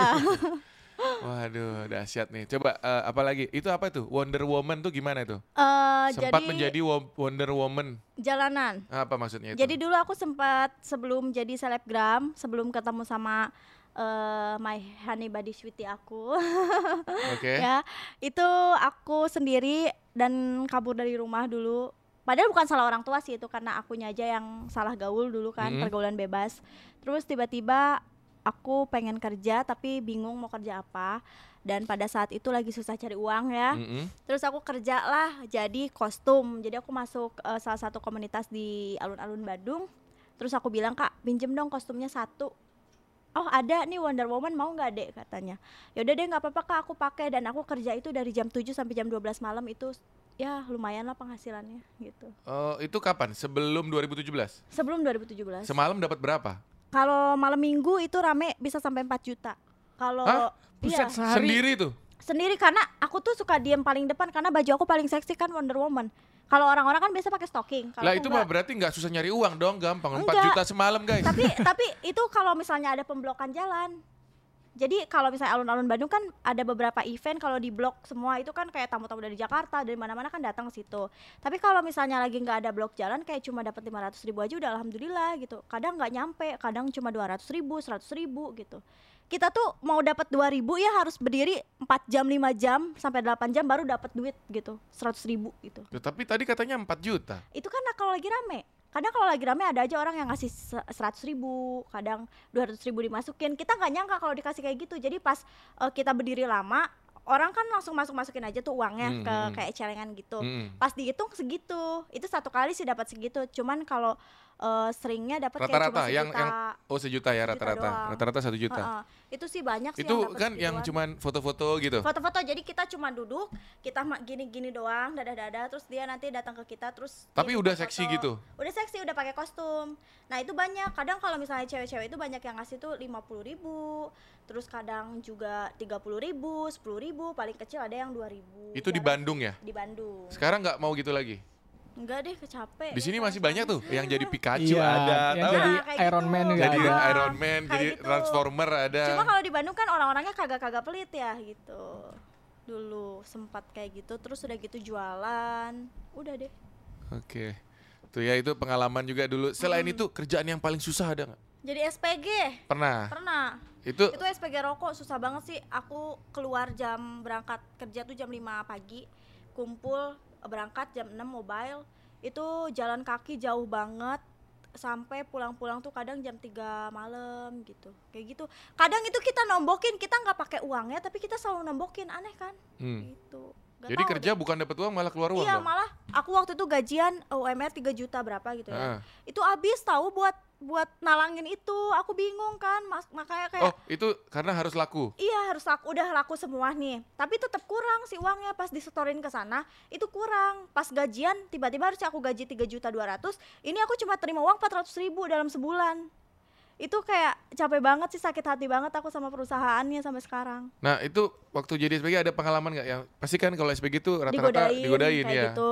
[SPEAKER 1] Waduh, dahsyat nih. Coba eh, apa lagi? Itu apa tuh? Wonder Woman tuh gimana tuh?
[SPEAKER 2] Eh,
[SPEAKER 1] Sempat
[SPEAKER 2] jadi
[SPEAKER 1] menjadi Gitu. wo- Wonder Woman.
[SPEAKER 2] jalanan.
[SPEAKER 1] Apa maksudnya itu?
[SPEAKER 2] Jadi dulu aku sempat sebelum jadi selebgram, sebelum ketemu sama eh, my honey body sweetie aku,
[SPEAKER 1] Oke.
[SPEAKER 2] ya itu aku sendiri dan kabur dari rumah dulu. Padahal bukan salah orang tua sih itu karena akunya aja yang salah gaul dulu kan
[SPEAKER 1] Mhm.
[SPEAKER 2] pergaulan bebas. Terus tiba-tiba aku pengen kerja tapi bingung mau kerja apa dan pada saat itu lagi susah cari uang ya.
[SPEAKER 1] Mm-mm.
[SPEAKER 2] Terus aku kerja lah jadi kostum. Jadi aku masuk eh, salah satu komunitas di alun-alun Bandung. Terus aku bilang kak, pinjem dong kostumnya satu. Oh ada nih Wonder Woman mau nggak dek katanya. Yaudah deh nggak apa-apa kak aku pakai dan aku kerja itu dari jam 7 sampai jam 12 malam itu ya lumayan lah penghasilannya gitu.
[SPEAKER 1] Eh, itu kapan? Sebelum 2017.
[SPEAKER 2] Sebelum 2017.
[SPEAKER 1] Semalam dapat berapa?
[SPEAKER 2] Kalau malam minggu itu rame bisa sampai 4 juta. Kalau
[SPEAKER 1] Hah?
[SPEAKER 2] iya
[SPEAKER 3] Buset, sehari.
[SPEAKER 1] Sendiri tuh.
[SPEAKER 2] sendiri karena aku tuh suka diem paling depan karena baju aku paling seksi kan Wonder Woman. Kalau orang-orang kan biasa pakai stocking. Kalau
[SPEAKER 1] Lah
[SPEAKER 2] aku
[SPEAKER 1] itu mah
[SPEAKER 2] nggak.
[SPEAKER 1] berarti nggak susah nyari uang dong, gampang. 4
[SPEAKER 2] Enggak.
[SPEAKER 1] juta semalam, guys.
[SPEAKER 2] tapi tapi itu kalau misalnya ada pemblokan jalan jadi kalau misalnya alun-alun Bandung kan ada beberapa event kalau di blok semua itu kan kayak tamu-tamu dari Jakarta dari mana-mana kan datang ke situ. Tapi kalau misalnya lagi nggak ada blok jalan kayak cuma dapat 500 ribu aja udah alhamdulillah gitu. Kadang nggak nyampe, kadang cuma 200 ribu, 100 ribu gitu. Kita tuh mau dapat 2000 ya harus berdiri 4 jam, 5 jam sampai 8 jam baru dapat duit gitu. 100 ribu gitu.
[SPEAKER 1] Tuh, Tapi tadi katanya 4 juta.
[SPEAKER 2] Itu kan kalau lagi rame. Kadang kalau lagi rame ada aja orang yang ngasih se- 100 ribu, kadang 200 ribu dimasukin. Kita nggak nyangka kalau dikasih kayak gitu. Jadi pas eh, kita berdiri lama, orang kan langsung masuk-masukin aja tuh uangnya
[SPEAKER 1] Hmm,
[SPEAKER 2] ke
[SPEAKER 1] hmm.
[SPEAKER 2] kayak celengan gitu.
[SPEAKER 1] Mm-mm.
[SPEAKER 2] Pas dihitung segitu. Itu satu kali sih dapat segitu. Cuman kalau eh, seringnya dapat kayak cuma
[SPEAKER 1] Rata-rata yang
[SPEAKER 2] sejuta.
[SPEAKER 1] yang oh sejuta ya
[SPEAKER 2] Sejuta
[SPEAKER 1] rata-rata.
[SPEAKER 2] doang.
[SPEAKER 1] Rata-rata satu juta.
[SPEAKER 2] Heeh. Itu sih banyak sih
[SPEAKER 1] Itu
[SPEAKER 2] dapet
[SPEAKER 1] kan yang cuman
[SPEAKER 2] segituan.
[SPEAKER 1] foto-foto gitu.
[SPEAKER 2] foto-foto jadi kita cuma duduk kita ma- gini-gini doang dada-dada terus dia nanti datang ke kita terus
[SPEAKER 1] Tapi
[SPEAKER 2] dia
[SPEAKER 1] udah
[SPEAKER 2] foto-foto.
[SPEAKER 1] seksi gitu?
[SPEAKER 2] udah seksi udah pakai kostum nah itu banyak kadang kalau misalnya cewek-cewek itu banyak yang ngasih tuh lima puluh ribu terus kadang juga tiga puluh ribu sepuluh ribu paling kecil ada yang dua ribu
[SPEAKER 1] Itu di Bandung ya?
[SPEAKER 2] di Bandung
[SPEAKER 1] Sekarang nggak mau gitu lagi.
[SPEAKER 2] enggak deh kecapek
[SPEAKER 1] Di sini masih banyak tuh yang jadi Pikachu
[SPEAKER 3] Iya,
[SPEAKER 1] ada,
[SPEAKER 3] yang
[SPEAKER 1] tahu?
[SPEAKER 3] jadi
[SPEAKER 2] Nah, kayak
[SPEAKER 3] Iron Man
[SPEAKER 2] gitu.
[SPEAKER 3] juga
[SPEAKER 1] jadi ya.
[SPEAKER 3] ada.
[SPEAKER 1] Iron Man,
[SPEAKER 2] Kayak
[SPEAKER 1] jadi
[SPEAKER 2] gitu.
[SPEAKER 1] Transformer ada.
[SPEAKER 2] Cuma kalau di Bandung kan orang-orangnya kagak-kagak pelit ya gitu. Dulu sempat kayak gitu, terus udah gitu jualan. Udah deh.
[SPEAKER 1] Oke. Tuh ya itu pengalaman juga dulu. Selain
[SPEAKER 2] Hmm.
[SPEAKER 1] itu kerjaan yang paling susah ada nggak?
[SPEAKER 2] Jadi SPG
[SPEAKER 1] Pernah.
[SPEAKER 2] pernah.
[SPEAKER 1] Itu
[SPEAKER 2] Itu SPG rokok susah banget sih. Aku keluar jam berangkat kerja tuh jam 5 pagi, kumpul berangkat jam 6 mobile. Itu jalan kaki jauh banget sampai pulang-pulang tuh kadang jam 3 malam gitu. Kayak gitu. Kadang itu kita nombokin, kita nggak pakai uangnya tapi kita selalu nombokin. Aneh kan?
[SPEAKER 1] hmm.
[SPEAKER 2] Gitu. Nggak
[SPEAKER 1] Jadi
[SPEAKER 2] tahu
[SPEAKER 1] kerja bukan dapat uang malah keluar uang
[SPEAKER 2] Iya
[SPEAKER 1] dong.
[SPEAKER 2] malah aku waktu itu gajian UMR 3 juta berapa gitu ya.
[SPEAKER 1] Ah.
[SPEAKER 2] Itu habis tahu buat buat nalangin itu. Aku bingung kan mas- makanya kayak
[SPEAKER 1] Oh, itu karena harus laku.
[SPEAKER 2] Iya harus laku, udah laku semua nih. Tapi tetap kurang sih uangnya pas disetorin ke sana itu kurang. Pas gajian tiba-tiba harus aku gaji 3 juta 200, ini aku cuma terima uang 400 ribu dalam sebulan. Itu kayak capek banget sih, sakit hati banget aku sama perusahaannya sampai sekarang.
[SPEAKER 1] Nah, itu waktu jadi SPG ada pengalaman nggak yang pasti kan kalau SPG itu rata-rata
[SPEAKER 2] digodain,
[SPEAKER 1] digodain,
[SPEAKER 2] kayak
[SPEAKER 1] ya.
[SPEAKER 2] gitu.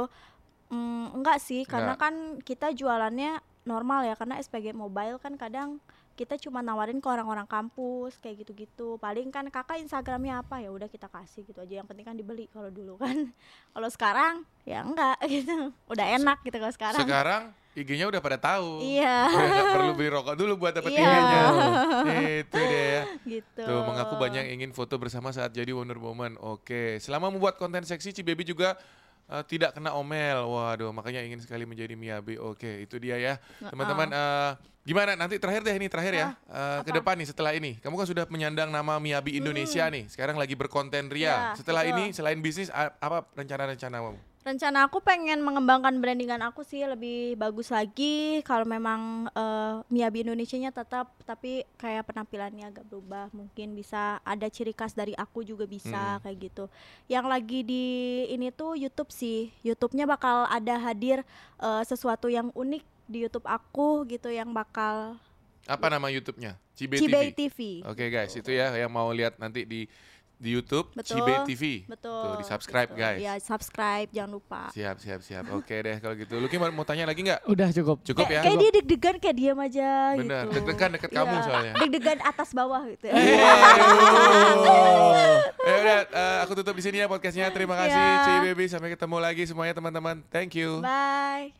[SPEAKER 2] Mm, enggak sih, karena
[SPEAKER 1] Enggak.
[SPEAKER 2] kan kita jualannya normal ya karena SPG mobile kan kadang kita cuma nawarin ke orang-orang kampus kayak gitu-gitu. Paling kan kakak Instagramnya apa ya udah kita kasih gitu aja. Yang penting kan dibeli kalau dulu kan. Kalau sekarang ya enggak gitu. Udah enak gitu kalau sekarang.
[SPEAKER 1] Sekarang IG-nya udah pada tahu.
[SPEAKER 2] Iya,
[SPEAKER 1] Udah nggak perlu beli rokok dulu buat dapet
[SPEAKER 2] Iya.
[SPEAKER 1] IG-nya. itu deh ya.
[SPEAKER 2] gitu.
[SPEAKER 1] Tuh mengaku banyak yang ingin foto bersama saat jadi Wonder Woman. Oke, selama membuat konten seksi, Ci Baby juga eh, tidak kena omel. Waduh, makanya ingin sekali menjadi Miabi. Oke, itu dia ya, teman-teman. eh, gimana? Nanti terakhir deh ini terakhir ya. Eh,
[SPEAKER 2] Ah,
[SPEAKER 1] ke depan nih setelah ini, kamu kan sudah menyandang nama Miabi Indonesia nih. Sekarang lagi berkonten ria.
[SPEAKER 2] Ya,
[SPEAKER 1] setelah
[SPEAKER 2] Hmm. betul.
[SPEAKER 1] ini selain bisnis a- apa rencana-rencana kamu?
[SPEAKER 2] Rencana aku pengen mengembangkan brandingan aku sih lebih bagus lagi kalau memang eh, Miyabi Indonesia-nya tetap tapi kayak penampilannya agak berubah mungkin bisa ada ciri khas dari aku juga bisa
[SPEAKER 1] Hmm.
[SPEAKER 2] kayak gitu. Yang lagi di ini tuh YouTube sih. YouTube-nya bakal ada hadir eh, sesuatu yang unik di YouTube aku gitu yang bakal
[SPEAKER 1] Apa nama YouTube-nya? Cibe
[SPEAKER 2] Cibei
[SPEAKER 1] TV.
[SPEAKER 2] TV.
[SPEAKER 1] Oke guys, itu ya yang mau lihat nanti di di YouTube
[SPEAKER 2] Betul.
[SPEAKER 1] Cibe TV.
[SPEAKER 2] Betul.
[SPEAKER 1] di subscribe
[SPEAKER 2] gitu.
[SPEAKER 1] guys.
[SPEAKER 2] Ya, subscribe jangan lupa.
[SPEAKER 1] Siap, siap, siap. Oke deh kalau gitu. Lucky mau, mau tanya lagi nggak?
[SPEAKER 3] Udah cukup.
[SPEAKER 1] Cukup ya.
[SPEAKER 2] kayak, kayak dia deg-degan kayak diam aja
[SPEAKER 1] Bener,
[SPEAKER 2] gitu.
[SPEAKER 1] deg-degan deket kamu
[SPEAKER 2] Iya,
[SPEAKER 1] soalnya.
[SPEAKER 2] Deg-degan atas bawah gitu.
[SPEAKER 3] Oh.
[SPEAKER 1] Ya udah, eh, aku tutup di sini ya podcastnya. Terima kasih
[SPEAKER 2] Ya.
[SPEAKER 1] Cibe Baby. Sampai ketemu lagi semuanya teman-teman. Thank you.
[SPEAKER 2] Bye.